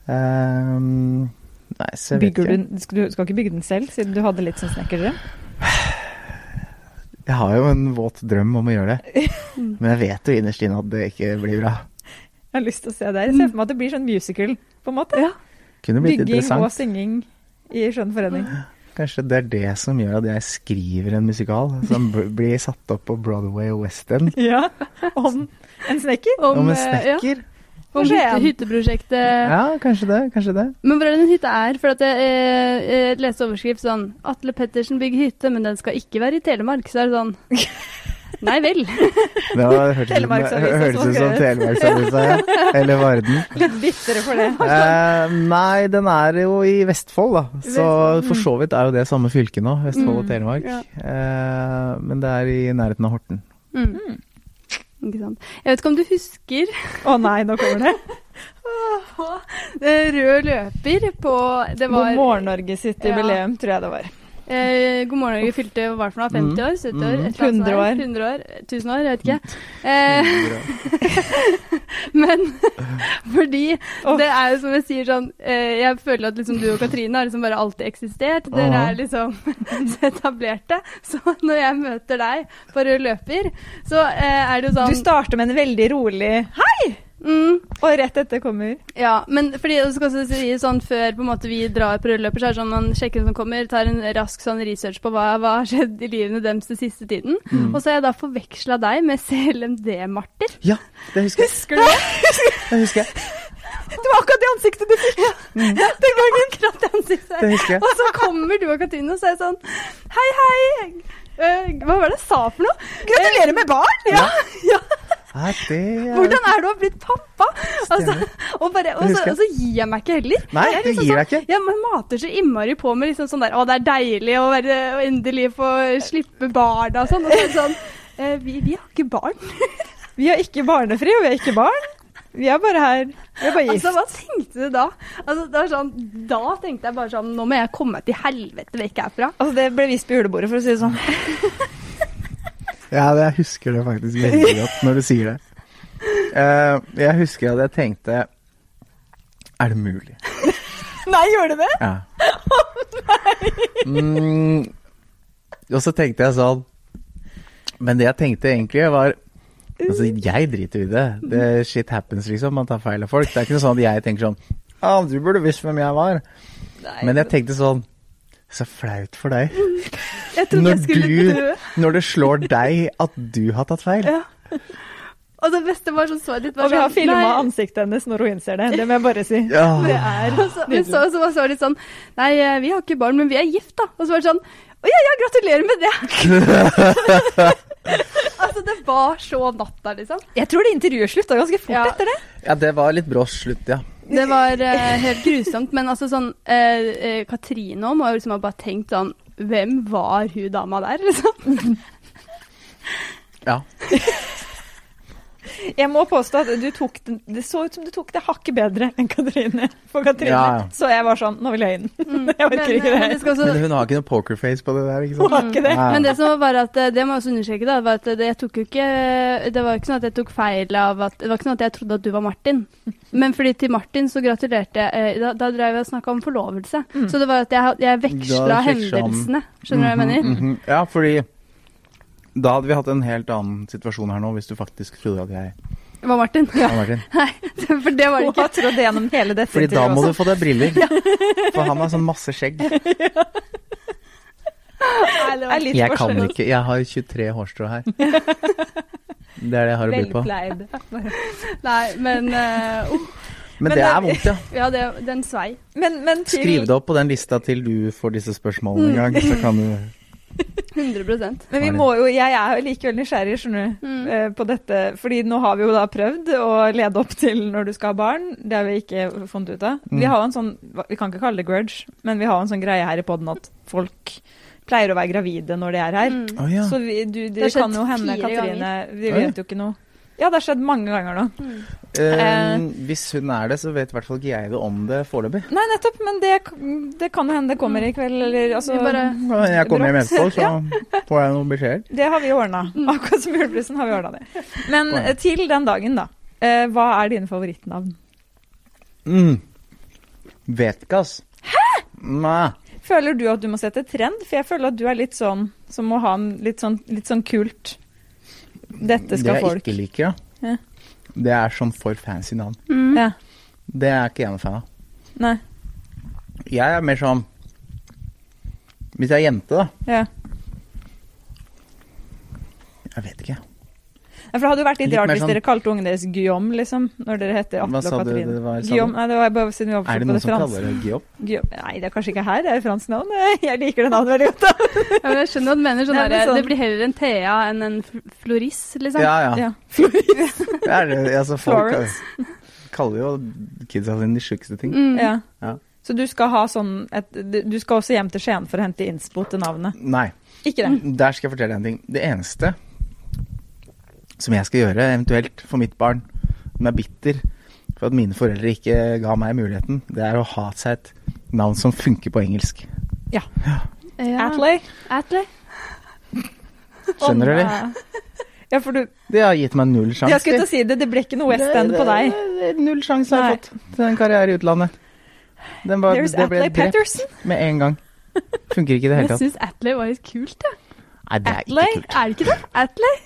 Ehm, nei, så jeg
Bygger
vet
du,
ikke.
den- skal du skal ikke bygge den selv, siden du hadde litt sånn snekkerdrøm?
Jeg har jo en våt drøm om å gjøre
[LAUGHS]
det.
Mm.
Men jeg vet jo innerst inne at det ikke blir bra.
Jeg har lyst til å se det. Jeg
Mm.
ser for meg at det blir sånn musical, på en måte.
Kunne blitt
Bygging og
interessant.
synging i skjønn forening.
Kanskje det er det som gjør at jeg skriver en musikal som b- blir satt opp på Broadway og West End.
Ja. Om en snekker.
Om en
eh, ja,
snekker?
om hytte,
Skien.
hytteprosjektet.
Ja, kanskje det. Kanskje det.
Men hvor er det den hytta er? For at jeg, eh, jeg leste overskrift sånn Atle Pettersen bygger hytte, men den skal ikke være i Telemark. Så er det sånn Nei vel.
Det var- hørtes ut som-
Telemarksavisa
hørtes ut som
som skrev.
Telemarksavisa, ja. Eller Varden.
Litt bitre for det.
Eh, nei, den er jo i Vestfold, da. Så for så vidt er jo det samme fylke nå, Vestfold og Telemark.
ja.
Eh, men det er i nærheten av Horten.
Mm. Ikke sant. Jeg vet ikke om du husker
Å nei, nå kommer det.
eh, rød løper på [LAUGHS] Det var
God morgen, Norge sitt
Ja.
jubileum, tror jeg det var.
Eh, God morgen Norge fylte hva var det for noe? 50 år? 70 år? et eller annet sånt der.
100 år.
100 år? 1000 år? Jeg vet ikke. Eh,
[LAUGHS]
men fordi
Åh.
det er jo som jeg sier sånn eh, Jeg føler at liksom du og Katrine har liksom bare alltid eksistert. Dere
Aha.
er liksom [LAUGHS] så etablerte. Så når jeg møter deg på rød løper, så eh, er det jo
Du
sånn
starter med en veldig rolig Hei!
mm,
Og rett etter kommer
Ja, men fordi jeg skal også si sånn før på en måte vi drar på rødløper, så er det sånn man sjekker hvem som kommer, tar en rask sånn research på hva, hva har skjedd i livene deres den siste tiden.
Mm.
Og så har jeg da forveksla deg med CLMD-Marter.
Ja, det husker jeg.
Husker du det?
Det husker jeg.
Det var akkurat det ansiktet du fikk den gangen.
[LAUGHS] Akkurat det ansiktet.
Det husker jeg.
Og så kommer du og Katrine og så er jeg sånn Hei, hei. Eh, hva var det jeg sa
[LAUGHS]
for noe?
Gratulerer med barn! Ja.
Nei, det er-
[LAUGHS] Hvordan er det å ha blitt pappa? Altså, og, bare, og, så,
Det husker jeg.
og så gir jeg meg ikke heller.
Nei,
Jeg er
du
liksom
gir
sånn-
deg ikke.
Ja, man mater så innmari på med liksom sånn der Å, det er deilig å, være, å endelig få slippe barna og sånn. Og så er det sånn eh, vi, vi har ikke barn.
Vi er ikke barnefri, og vi er ikke barn. Vi er bare her. Vi er bare gift.
Altså, hva tenkte du da? Altså, det var sånn, da tenkte jeg bare sånn Nå må jeg komme meg til helvete vekk herfra.
Altså, det ble vist på julebordet, for å si det sånn.
[LAUGHS]
Ja, det, jeg husker det faktisk veldig godt når du sier det. Eh, jeg husker at jeg tenkte Er det mulig?
Nei, gjorde du det?
Ja. Å nei! Mm, og så tenkte jeg sånn Men det jeg tenkte egentlig var Altså, jeg driter i det. det. Shit happens, liksom. Man tar feil av folk. Det er ikke noe sånn at jeg tenker sånn Ja, du burde visst hvem jeg var. Men jeg tenkte sånn Så flaut for deg.
Jeg trodde jeg
Når
skulle dø.
du Når det slår deg at du har tatt feil.
Ja. Og det beste var sånn svaret ditt var
Og vi har
sånn,
filma
«Nei,
ansiktet hennes når hun innser det. Det må jeg bare si.
[LAUGHS]
Ja.
Det er og så, Men så, så var svaret litt sånn Nei, eh, vi har ikke barn, men vi er gift, da. Og så var det sånn Å ja, ja, gratulerer med det.
[LAUGHS]
altså, det var så natta, liksom.
Jeg tror det intervjuet slutta ganske fort
Ja.
etter det.
Ja, det var litt brått slutt, ja.
Det var eh, helt grusomt. Men altså sånn eh, eh, Katrine òg må jo liksom ha bare tenkt sånn Hvem var hun dama der, liksom?
Ja.
Jeg må påstå at du tok den, det så ut som du tok det hakket bedre enn Katrine. For Katrine.
Ja.
Så jeg var sånn Nå vil jeg inn. jeg orker
Men,
ikke
eh, men
det.
det skal også,
Men hun har ikke noe pokerface på det der, ikke
Hun
sant?
har ikke det.
Ja.
Men det som var bare at eh, Det må jeg også understreke, da. Var at det, jeg tok jo ikke Det var jo ikke sånn at jeg tok feil av at Det var ikke sånn at jeg trodde at du var Martin. Men fordi til Martin så gratulerte jeg eh, Da, da drev jeg og snakka om forlovelse. Så det var at jeg, jeg veksla
Da veksla han.
hendelsene. Skjønner du hva jeg mener?
Mhm. Ja, fordi da hadde vi hatt en helt annen situasjon her nå, hvis du faktisk trodde at jeg
Det var Martin. Ja. [LAUGHS]
var Martin.
For det var det
Hun
ikke.
har trodd det gjennom hele dette
Fordi da må
også.
du få deg briller. For han har sånn masse skjegg.
Det er litt
Jeg
forskjell. sånn
kan ikke. Jeg har 23 hårstrå her. Det er det jeg har å by på.
Velpleid.
Nei, men eh, uh,
Men det er vondt, ja.
Ja, det, den svei.
Men, men til
Skriv det opp på den lista til du får disse spørsmålene en gang, så kan du
100
Men vi må jo, jeg er jo likevel nysgjerrig skjønner du,
Mm.
eh, på dette. Fordi nå har vi jo da prøvd å lede opp til når du skal ha barn. Det har vi ikke funnet ut av.
Mm.
Vi har jo en sånn, vi kan ikke kalle det grudge, men vi har jo en sånn greie her i poden at folk pleier å være gravide når de er her.
Mm.
Å ja.
Så vi, du, det,
Det har skjedd
kan jo hende,
fire
Katrine, vi
Oi.
vet jo ikke noe. Ja, det har skjedd mange ganger nå.
Mm.
Eh, hvis hun er det, så vet i hvert fall ikke jeg det om det foreløpig.
Nei, nettopp, men det, det kan jo hende det kommer i kveld, eller altså
Mm. Vi bare
Når jeg kommer hjem etterpå, så får jeg noen beskjeder.
Det har vi ordna. Akkurat som julebrusen har vi ordna det. Men
Bra.
eh, til den dagen, da. Eh, hva er dine favorittnavn?
Mm. Vet ikke, ass. Hæ? Nei.
Føler du at du må sette trend? For jeg føler at du er litt sånn som må ha en litt sånn, litt sånn kult Dette
det
skal
jeg
folk.
ikke liker, ja.
Ja.
Det er sånn for fancy navn.
Mm.
Ja.
Det er ikke jeg noen fan av.
Nei.
Jeg er mer sånn Hvis jeg er jente, da.
Ja.
Jeg vet ikke.
Nei, For det hadde jo vært litt,
Litt
rart
mer
hvis
sånn-
dere kalte ungen deres Guillaume, liksom. Når dere heter
Hva
Atle
sa
og
du
Katrine.
det var? sa du?
Guillaume, nei, det var bare siden vi var
Er det
på
noen
det
som
franske.
kaller det Guillaume?
Guillaume. Nei, det er kanskje ikke her, det er fransk navn. [LAUGHS] Jeg liker det navnet veldig godt. da.
Ja, men jeg skjønner hva du mener. Sånn
Nei, men
der,
sånn-
Det blir heller en Thea enn en fl- floris, liksom.
Ja, ja.
Ja.
Det er det. Altså, folk
Florence.
kaller jo kidsa sine de sjukeste ting.
Mm.
Ja.
Ja.
Mhm. Så du skal ha sånn et, du- Du skal også hjem til Skien for å hente innspo til navnet.
Nei.
Ikke det.
Der skal jeg fortelle en ting. Det eneste som jeg skal gjøre, eventuelt for mitt barn, som er bitter for at mine foreldre ikke ga meg muligheten, det er å ha seg et navn som funker på engelsk.
Ja.
Atley?
Atle.
Skjønner du, eller?
Ja.
Ja, for du
Det har gitt meg null
Jeg
sjanse.
skulle til å si det, det ble ikke noe West End på deg.
Null sjanse har jeg fått til en karriere i utlandet. Den var,
There's
det ble
Atley
drept
Patterson.
med en gang. Funker ikke i det hele
Jeg
tatt.
syns Atle var litt kult, jeg.
Nei, det er ikke
Atle,
kult.
er det ikke det? Atle?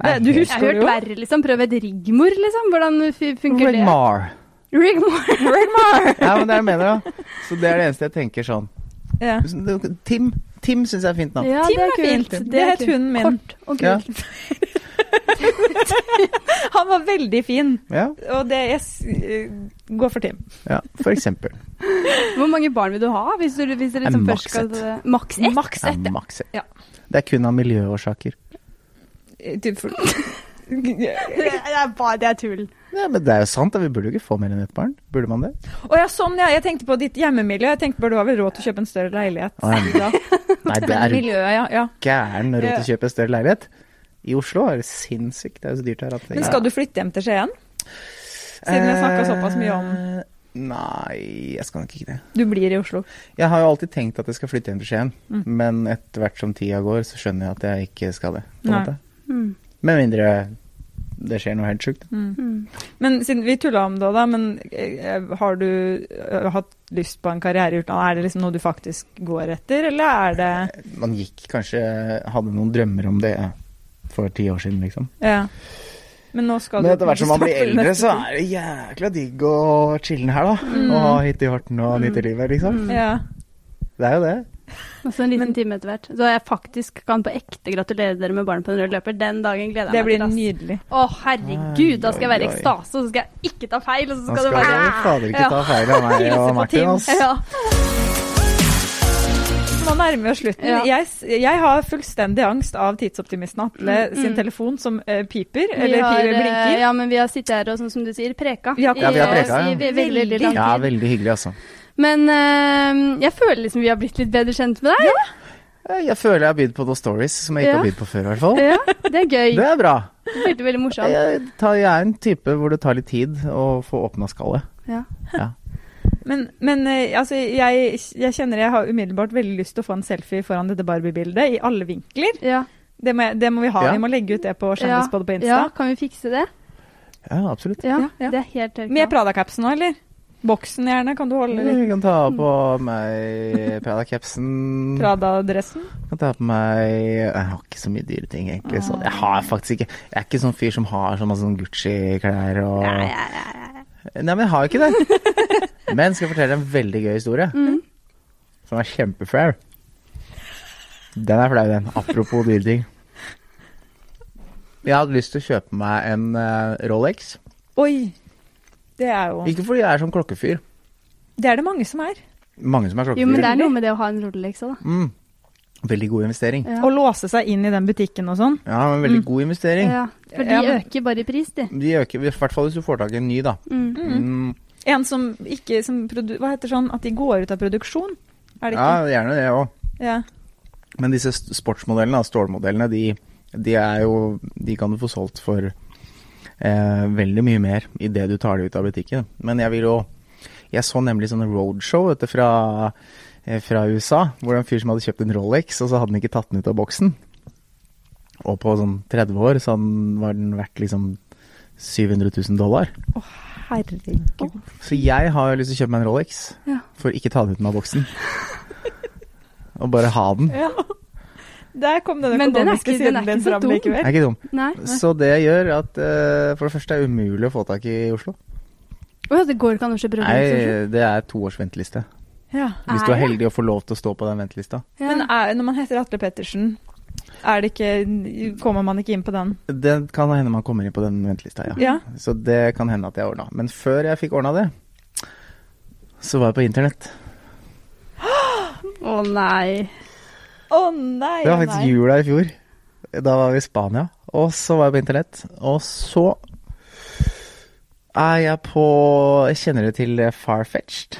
Nei,
det- du
helt-
Jeg har
Husker du
hørt
jo?
verre, liksom. Prøv et Rigmor, liksom. Hvordan f- funker det?
Rigmar.
Rigmor. Rigmor.
Ja, men det er det jeg mener, da. Så det er det eneste jeg tenker sånn.
Ja.
Tim, Tim syns jeg er fint navn.
Ja,
Tim
det er
er
kult.
fint.
er
Det het
kult.
hunden min.
Kort og
Ja.
kult.
[LAUGHS] Han var veldig fin,
Ja,
og det jeg s- eh, går for Tim.
ja for eksempel.
Hvor mange barn vil du ha? Hvis du, hvis du
Ja,
liksom
maks
først skal
ett.
Maks ett?
Maks
Ja,
ett.
maks ett.
Ja.
Det er kun av miljøårsaker.
eh, typ for-
[LAUGHS] Det er bare det er tull.
Ja, men det er jo sant, da. Vi burde jo ikke få mer enn ett barn. Burde man det?
[LAUGHS] Å ja, sånn ja. Jeg tenkte på ditt hjemmemiljø. Jeg tenkte bare du har vel råd til å kjøpe en større leilighet.
Å, ja.
Da.
Nei, det
Men
er
miljøet, ja, ja.
gæren råd til å kjøpe en større leilighet. I Oslo er det sinnssykt. Det er jo så dyrt her. At
Men skal du flytte hjem til Skien? Siden vi har snakket såpass mye om-
Eh, Nei, jeg skal nok ikke det.
Du blir i Oslo.
Jeg har jo alltid tenkt at jeg skal flytte hjem til Skien,
Mm.
men etter hvert som tida går, så skjønner jeg at jeg ikke skal det. På en
Nei.
måte.
Mm.
Med mindre det skjer noe helt sjukt.
Mm.
Mm.
Men siden vi tulla om det òg, da, men eh, har du eh, hatt lyst på en karriere i utlandet? Er det liksom noe du faktisk går etter, eller er det
Man gikk kanskje Hadde noen drømmer om det for ti år siden, liksom.
Ja. Men nå skal
Men
du
etter
[LAUGHS]
hvert som man blir
Stockholm
eldre,
neste
så
tur.
er det jækla digg å chille'n her, da.
Mm.
Og ha hytte i Horten og nyte livet, liksom.
Mm.
Ja.
Det er jo det.
Og så en liten
Men-
time etter hvert. Så jeg faktisk kan på ekte gratulere dere med barn på en rød løper. Den dagen gleder
Det
jeg meg
blir
til. ass.
nydelig.
Å, herregud, da skal jeg være i
Oi, oi, oi.
ekstase, og så skal jeg ikke ta feil, og så skal
Man skal
det være [LAUGHS]
jo fader ikke
Ja.
ta feil av
[LAUGHS]
meg og
Hilse på
Martin,
Tim.
ass.
ja.
Nå nærmer vi oss slutten.
Ja.
Jeg, s- jeg har fullstendig angst av tidsoptimisten Atle sin telefon som eh, piper,
Mm, Vi
eller
har,
piper
eh,
blinker.
Ja, men vi har sittet her og sånn som du sier, preka.
Ja,
i- eh,
Ja, vi har
preka,
i
ja.
ve- veldig, veldig lang tid.
Ja, veldig hyggelig, altså.
Men eh, jeg føler liksom vi har blitt litt bedre kjent med deg.
Eh, Jeg føler jeg har bydd på noen stories som jeg ikke
Ja.
har bydd på før, i hvert fall.
Ja, det er gøy.
Det er bra.
Veldig, veldig morsomt.
Jeg, tar, jeg er en type hvor det tar litt tid å få åpna skallet.
Ja.
Men, men eh, altså, jeg, jeg kjenner jeg har umiddelbart veldig lyst til å få en selfie foran dette Barbie-bildet, i alle vinkler.
Ja.
Det må, jeg- det må vi ha.
Ja.
Vi må legge ut det på Kjendisbådet på Insta.
ja, kan vi fikse det?
Ja, absolutt.
Ja,
Ja, ja.
Det er helt tørka.
Med Prada-capsen òg, eller? Boksen gjerne, kan du holde litt
Jeg kan ta på meg Prada-capsen.
Prada-dressen?
Kan ta på meg eh, Jeg har ikke så mye dyre ting, egentlig. Så jeg har faktisk ikke Jeg er ikke sånn fyr som har sånn masse sånn Gucci-klær og
ja, ja, ja, ja.
Nei, men jeg har ikke det. Men skal jeg fortelle en veldig gøy historie,
Mm.
som er kjempeflau. Den er flau, den. Apropos dyre ting. Jeg hadde lyst til å kjøpe meg en eh, Rolex.
Oi! Det er jo
Ikke fordi jeg er sånn klokkefyr.
Det er det mange som er.
Mange som er klokkefyr.
Jo, men det er noe med det å ha en Rolex òg, da.
mm. Veldig god investering.
Ja. Mm.
Å låse seg inn i den butikken og sånn.
Ja, men veldig god investering.
Ja, for de
Ja, men-
øker bare i pris, de.
De øker, I hvert fall hvis du får tak i en ny, da.
Mm.
Mm.
En som ikke som produ Hva heter sånn at de går ut av produksjon? Er det
Ja,
ikke?
gjerne det òg.
Ja.
Men disse st- sportsmodellene, da, stålmodellene, de, de er jo De kan du få solgt for eh, veldig mye mer idet du tar det ut av butikken. Men jeg vil jo Jeg så nemlig sånne roadshow vet du, fra, eh, fra USA, hvor det var en fyr som hadde kjøpt en Rolex, og så hadde han ikke tatt den ut av boksen. Og på sånn 30 år så han- var den verdt liksom 700 000 dollar.
Herregud.
Så jeg har lyst til å kjøpe meg en Rolex,
Ja.
for ikke ta den ut av boksen. og bare ha den.
Ja. Der kom den
Men den er
økonomiske
ikke- den er
siden din
ikke så
fram
dum.
Det
likevel.
er ikke dum.
Nei.
Så det gjør at eh, for det første er det umulig å få tak i Oslo.
Å ja, det går ikke an å kjøpe Rolex? også?
Nei, det er to års venteliste.
Ja.
Hvis du
Er
er
det?
heldig å få lov til å stå på den ventelista.
Ja.
Men er, når man heter Atle Pettersen, er det ikke, kommer man ikke inn på den?
Det kan hende man kommer inn på den ventelista, ja.
Ja.
Så det kan hende at jeg ordna. Men før jeg fikk ordna det, så var jeg på internett.
Å nei.
Å nei,
Det var
å
faktisk
nei.
jula i fjor. Da var vi i Spania, og så var jeg på internett. Og så er jeg på Kjenner du til Farfetched?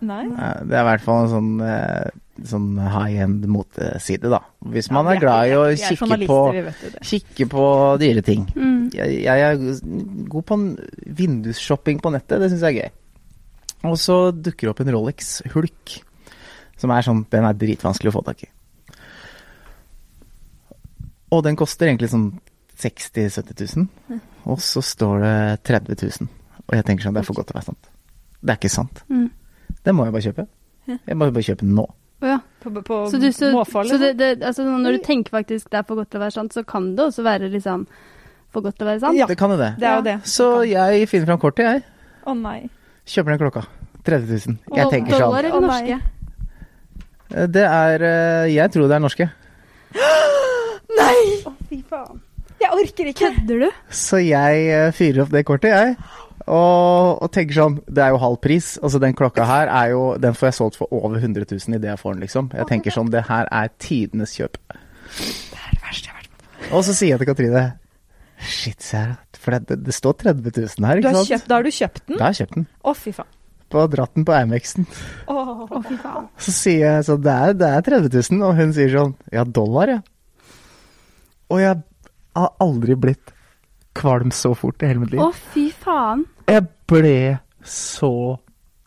Nei.
Ja, Det er i hvert fall en sånn, eh, sånn high end moteside, da. Hvis man er glad i å
Vi er
kikke på,
journalister, vi vet jo det.
kikke på dyre ting.
Mm.
Jeg, jeg er god på en vindusshopping på nettet, det syns jeg er gøy. Og så dukker det opp en Rolex Hulk, som er sånn Den er dritvanskelig å få tak i. Og den koster egentlig sånn 60 000-70 000, og så står det 30 000. Og jeg tenker sånn, det er for godt til å være sant. Det er ikke sant.
Mm.
Den må jeg bare kjøpe. Jeg må bare kjøpe den nå.
Å ja.
På, på
Så, du, så,
måfå,
så
liksom.
det, det, altså, når du tenker faktisk det er for godt til å være sant, så kan det også være liksom for godt til å være sant?
sånn. Ja.
Det kan jo det.
det er jo det.
Så jeg finner fram kortet, jeg.
Å nei.
Kjøper den klokka. 30 000. Jeg
Og
tenker
dollar
sånn.
Å,
eller
nei.
norske?
Det er eh, Jeg tror det er norske.
Nei!
Fy faen.
Jeg orker ikke.
Kødder du?
Så jeg eh, fyrer opp det kortet, jeg. Og, og tenker sånn Det er jo halv pris. Altså, den klokka her er jo Den får jeg solgt for over 100 000 idet jeg får den, liksom. Jeg tenker sånn Det her er tidenes kjøp.
Det er det verste jeg har vært med på.
Og så sier jeg til Katrine Shit, ser jeg. For det, det står 30 000
Du
her, ikke
har
sant?
kjøpt, da har du kjøpt den?
Da har jeg kjøpt den.
Å, fy faen.
På dratt den på Amex-en.
Åh.
Å, fy faen.
Så sier jeg sånn, det er, det er 30 000, og hun sier sånn, ja, dollar, ja. Og jeg har aldri blitt kvalm så fort i hele mitt liv.
Å, fy faen.
Jeg ble så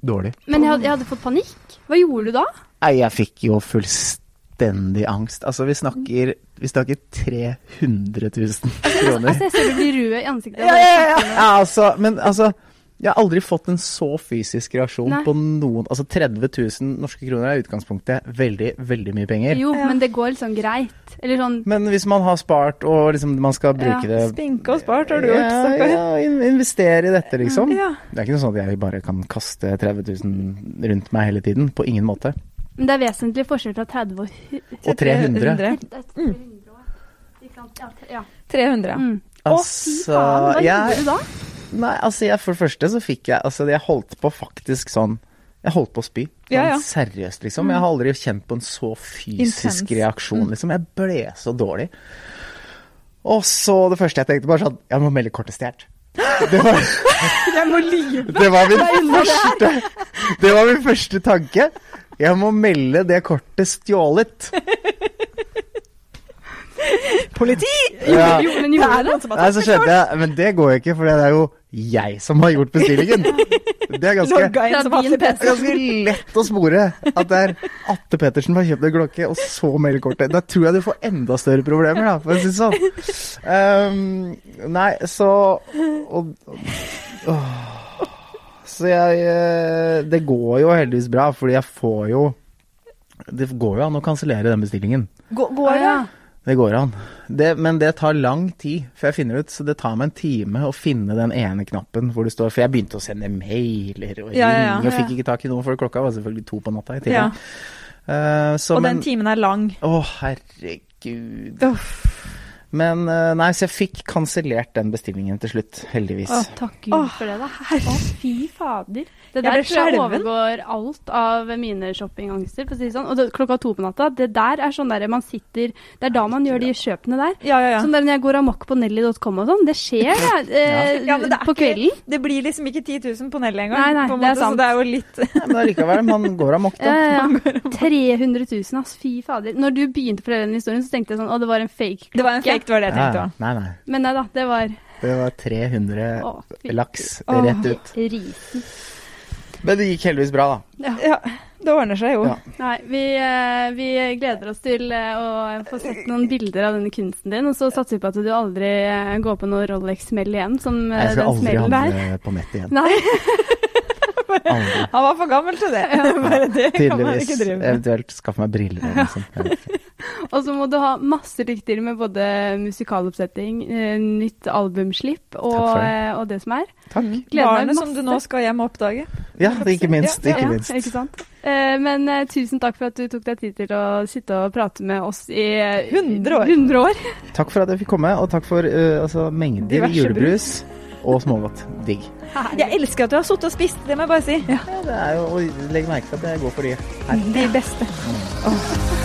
dårlig.
Men jeg hadde, jeg hadde fått panikk. Hva gjorde du da?
Nei, jeg fikk jo fullstendig angst. Altså, vi snakker, vi snakker 300
[LAUGHS]
000 kroner.
Altså, jeg ser du blir rød i ansiktet.
Ja, ja, ja. ja altså, men altså jeg har aldri fått en så fysisk reaksjon
Nei.
på noen Altså 30 000 norske kroner er i utgangspunktet veldig, veldig mye penger.
Jo,
Ja.
men det går liksom greit. Eller sånn
Men hvis man har spart, og liksom man skal
Ja,
bruke det
Spinke og spart har du gjort,
Ja,
stakkar.
ja, in- investere i dette, liksom.
Ja.
Det er ikke noe sånn at jeg bare kan kaste 30 000 rundt meg hele tiden. På ingen måte.
Men det er vesentlig forskjell fra 30 og
Og 300.
100. Ja.
300.
Mm.
Altså,
Faen, hva
jeg,
gjorde du da?
nei, altså jeg, for det første så fikk jeg Altså, jeg holdt på faktisk sånn Jeg holdt på å spy. Sånn
Ja, ja.
Seriøst, liksom. Jeg har aldri kjent på en så fysisk
Intens. Mm.
reaksjon, liksom. Jeg ble så dårlig. Og så det første jeg tenkte, bare sånn Jeg må melde kortet stjålet. Det var
Jeg må lyve.
Det var min første Det var min første tanke. Jeg må melde det kortet stjålet.
Politi!
Ja.
[LAUGHS] Jo, men gjorde du det?
sånn som
Nei, så skjønte jeg Men det går jo ikke, for det er jo jeg som har gjort
[LAUGHS]
bestillingen. Det er ganske,
Logga inn
Fra
som Atle
din
Pettersen.
ganske lett å spore at det er Atte Pettersen som har kjøpt en klokke, og så melder kortet. Da tror jeg du får enda større problemer, da, for å si det sånn. Ehm, nei, så og, åh. Så jeg eh, Det går jo heldigvis bra, fordi jeg får jo Det går jo an å kansellere den bestillingen.
Gå- Går det?
Ja.
Det går an. Det, men det tar lang tid før jeg finner ut, så det tar meg en time å finne den ene knappen hvor det står For jeg begynte å sende mailer og ringe,
Ja, ja, ja.
og fikk ikke tak i noen, for klokka var selvfølgelig to på natta
Ja.
i tillegg. Eh, så,
Og
men
den timen er lang.
Å, herregud.
Uff.
Men eh, nei, så jeg fikk kansellert den bestillingen til slutt, heldigvis.
Å, takk Gud
Åh,
for det, da.
Å, fy fader.
Det
jeg
der
ble
tror jeg
skjelven.
overgår alt av mine shoppingangster, for å si det sånn. Og det, klokka to på natta, det der er sånn der man sitter Det er da man gjør de kjøpene der.
Ja, ja, ja.
Sånn der når jeg går amok på Nelly.com og sånn. Det
[LAUGHS]
skjer, det. Eh,
Ja, men det er
på
ikke-
kvelden.
Det blir liksom ikke 10 000 på Nelly engang.
Nei, nei,
på en
det er
måte,
sant.
Så det er jo litt
Nei, Men allikevel, man går amok,
sånn
Ja,
da.
[LAUGHS] ja, ja. 300 000, ass. Fy fader. Når du begynte å fortelle den historien, så tenkte jeg sånn Å, det var en fake.
Det var en fake, det var det jeg tenkte
Ja,
òg.
nei, nei.
Men nei da, det var
Det var 300
Å, fy
laks
Åh.
rett ut.
risen.
Men det gikk heldigvis bra, da.
Ja.
Ja, det ordner seg jo.
Ja.
Nei, vi, eh, vi gleder oss til eh, å få sett noen bilder av denne kunsten din, og så satser vi på at du aldri eh, går på noe Rolex-smell igjen, som eh,
Jeg skal
den
aldri
smellen der. [LAUGHS]
handle på nett igjen.
Nei,
Aldri.
Han var for gammel til det. Bare [LAUGHS] det kan man
Tydeligvis.
ikke drive med.
Eventuelt skaffe meg briller eller noe sånt. Jeg vet ikke.
Og så må du ha masse lykke til med både musikaloppsetting, eh, nytt albumslipp og,
Takk for det.
eh, og det som er.
Takk.
Gleder meg
Barnet som
masse.
du nå skal hjem og oppdage.
Ja, det- ikke minst.
Ja,
Ikke
Ja,
minst.
Ikke sant? Eh, men eh, tusen takk for at du tok deg tid til å sitte og prate med oss i eh,
100 år.
100 år.
Takk for at jeg fikk komme, og takk for eh, altså, mengder
Diverse
julebrus og smågodt. Digg.
Jeg elsker at du har sittet og spist, det må jeg bare si.
Ja, det er jo, og legg merke til at jeg går for de her.
De beste. Åh.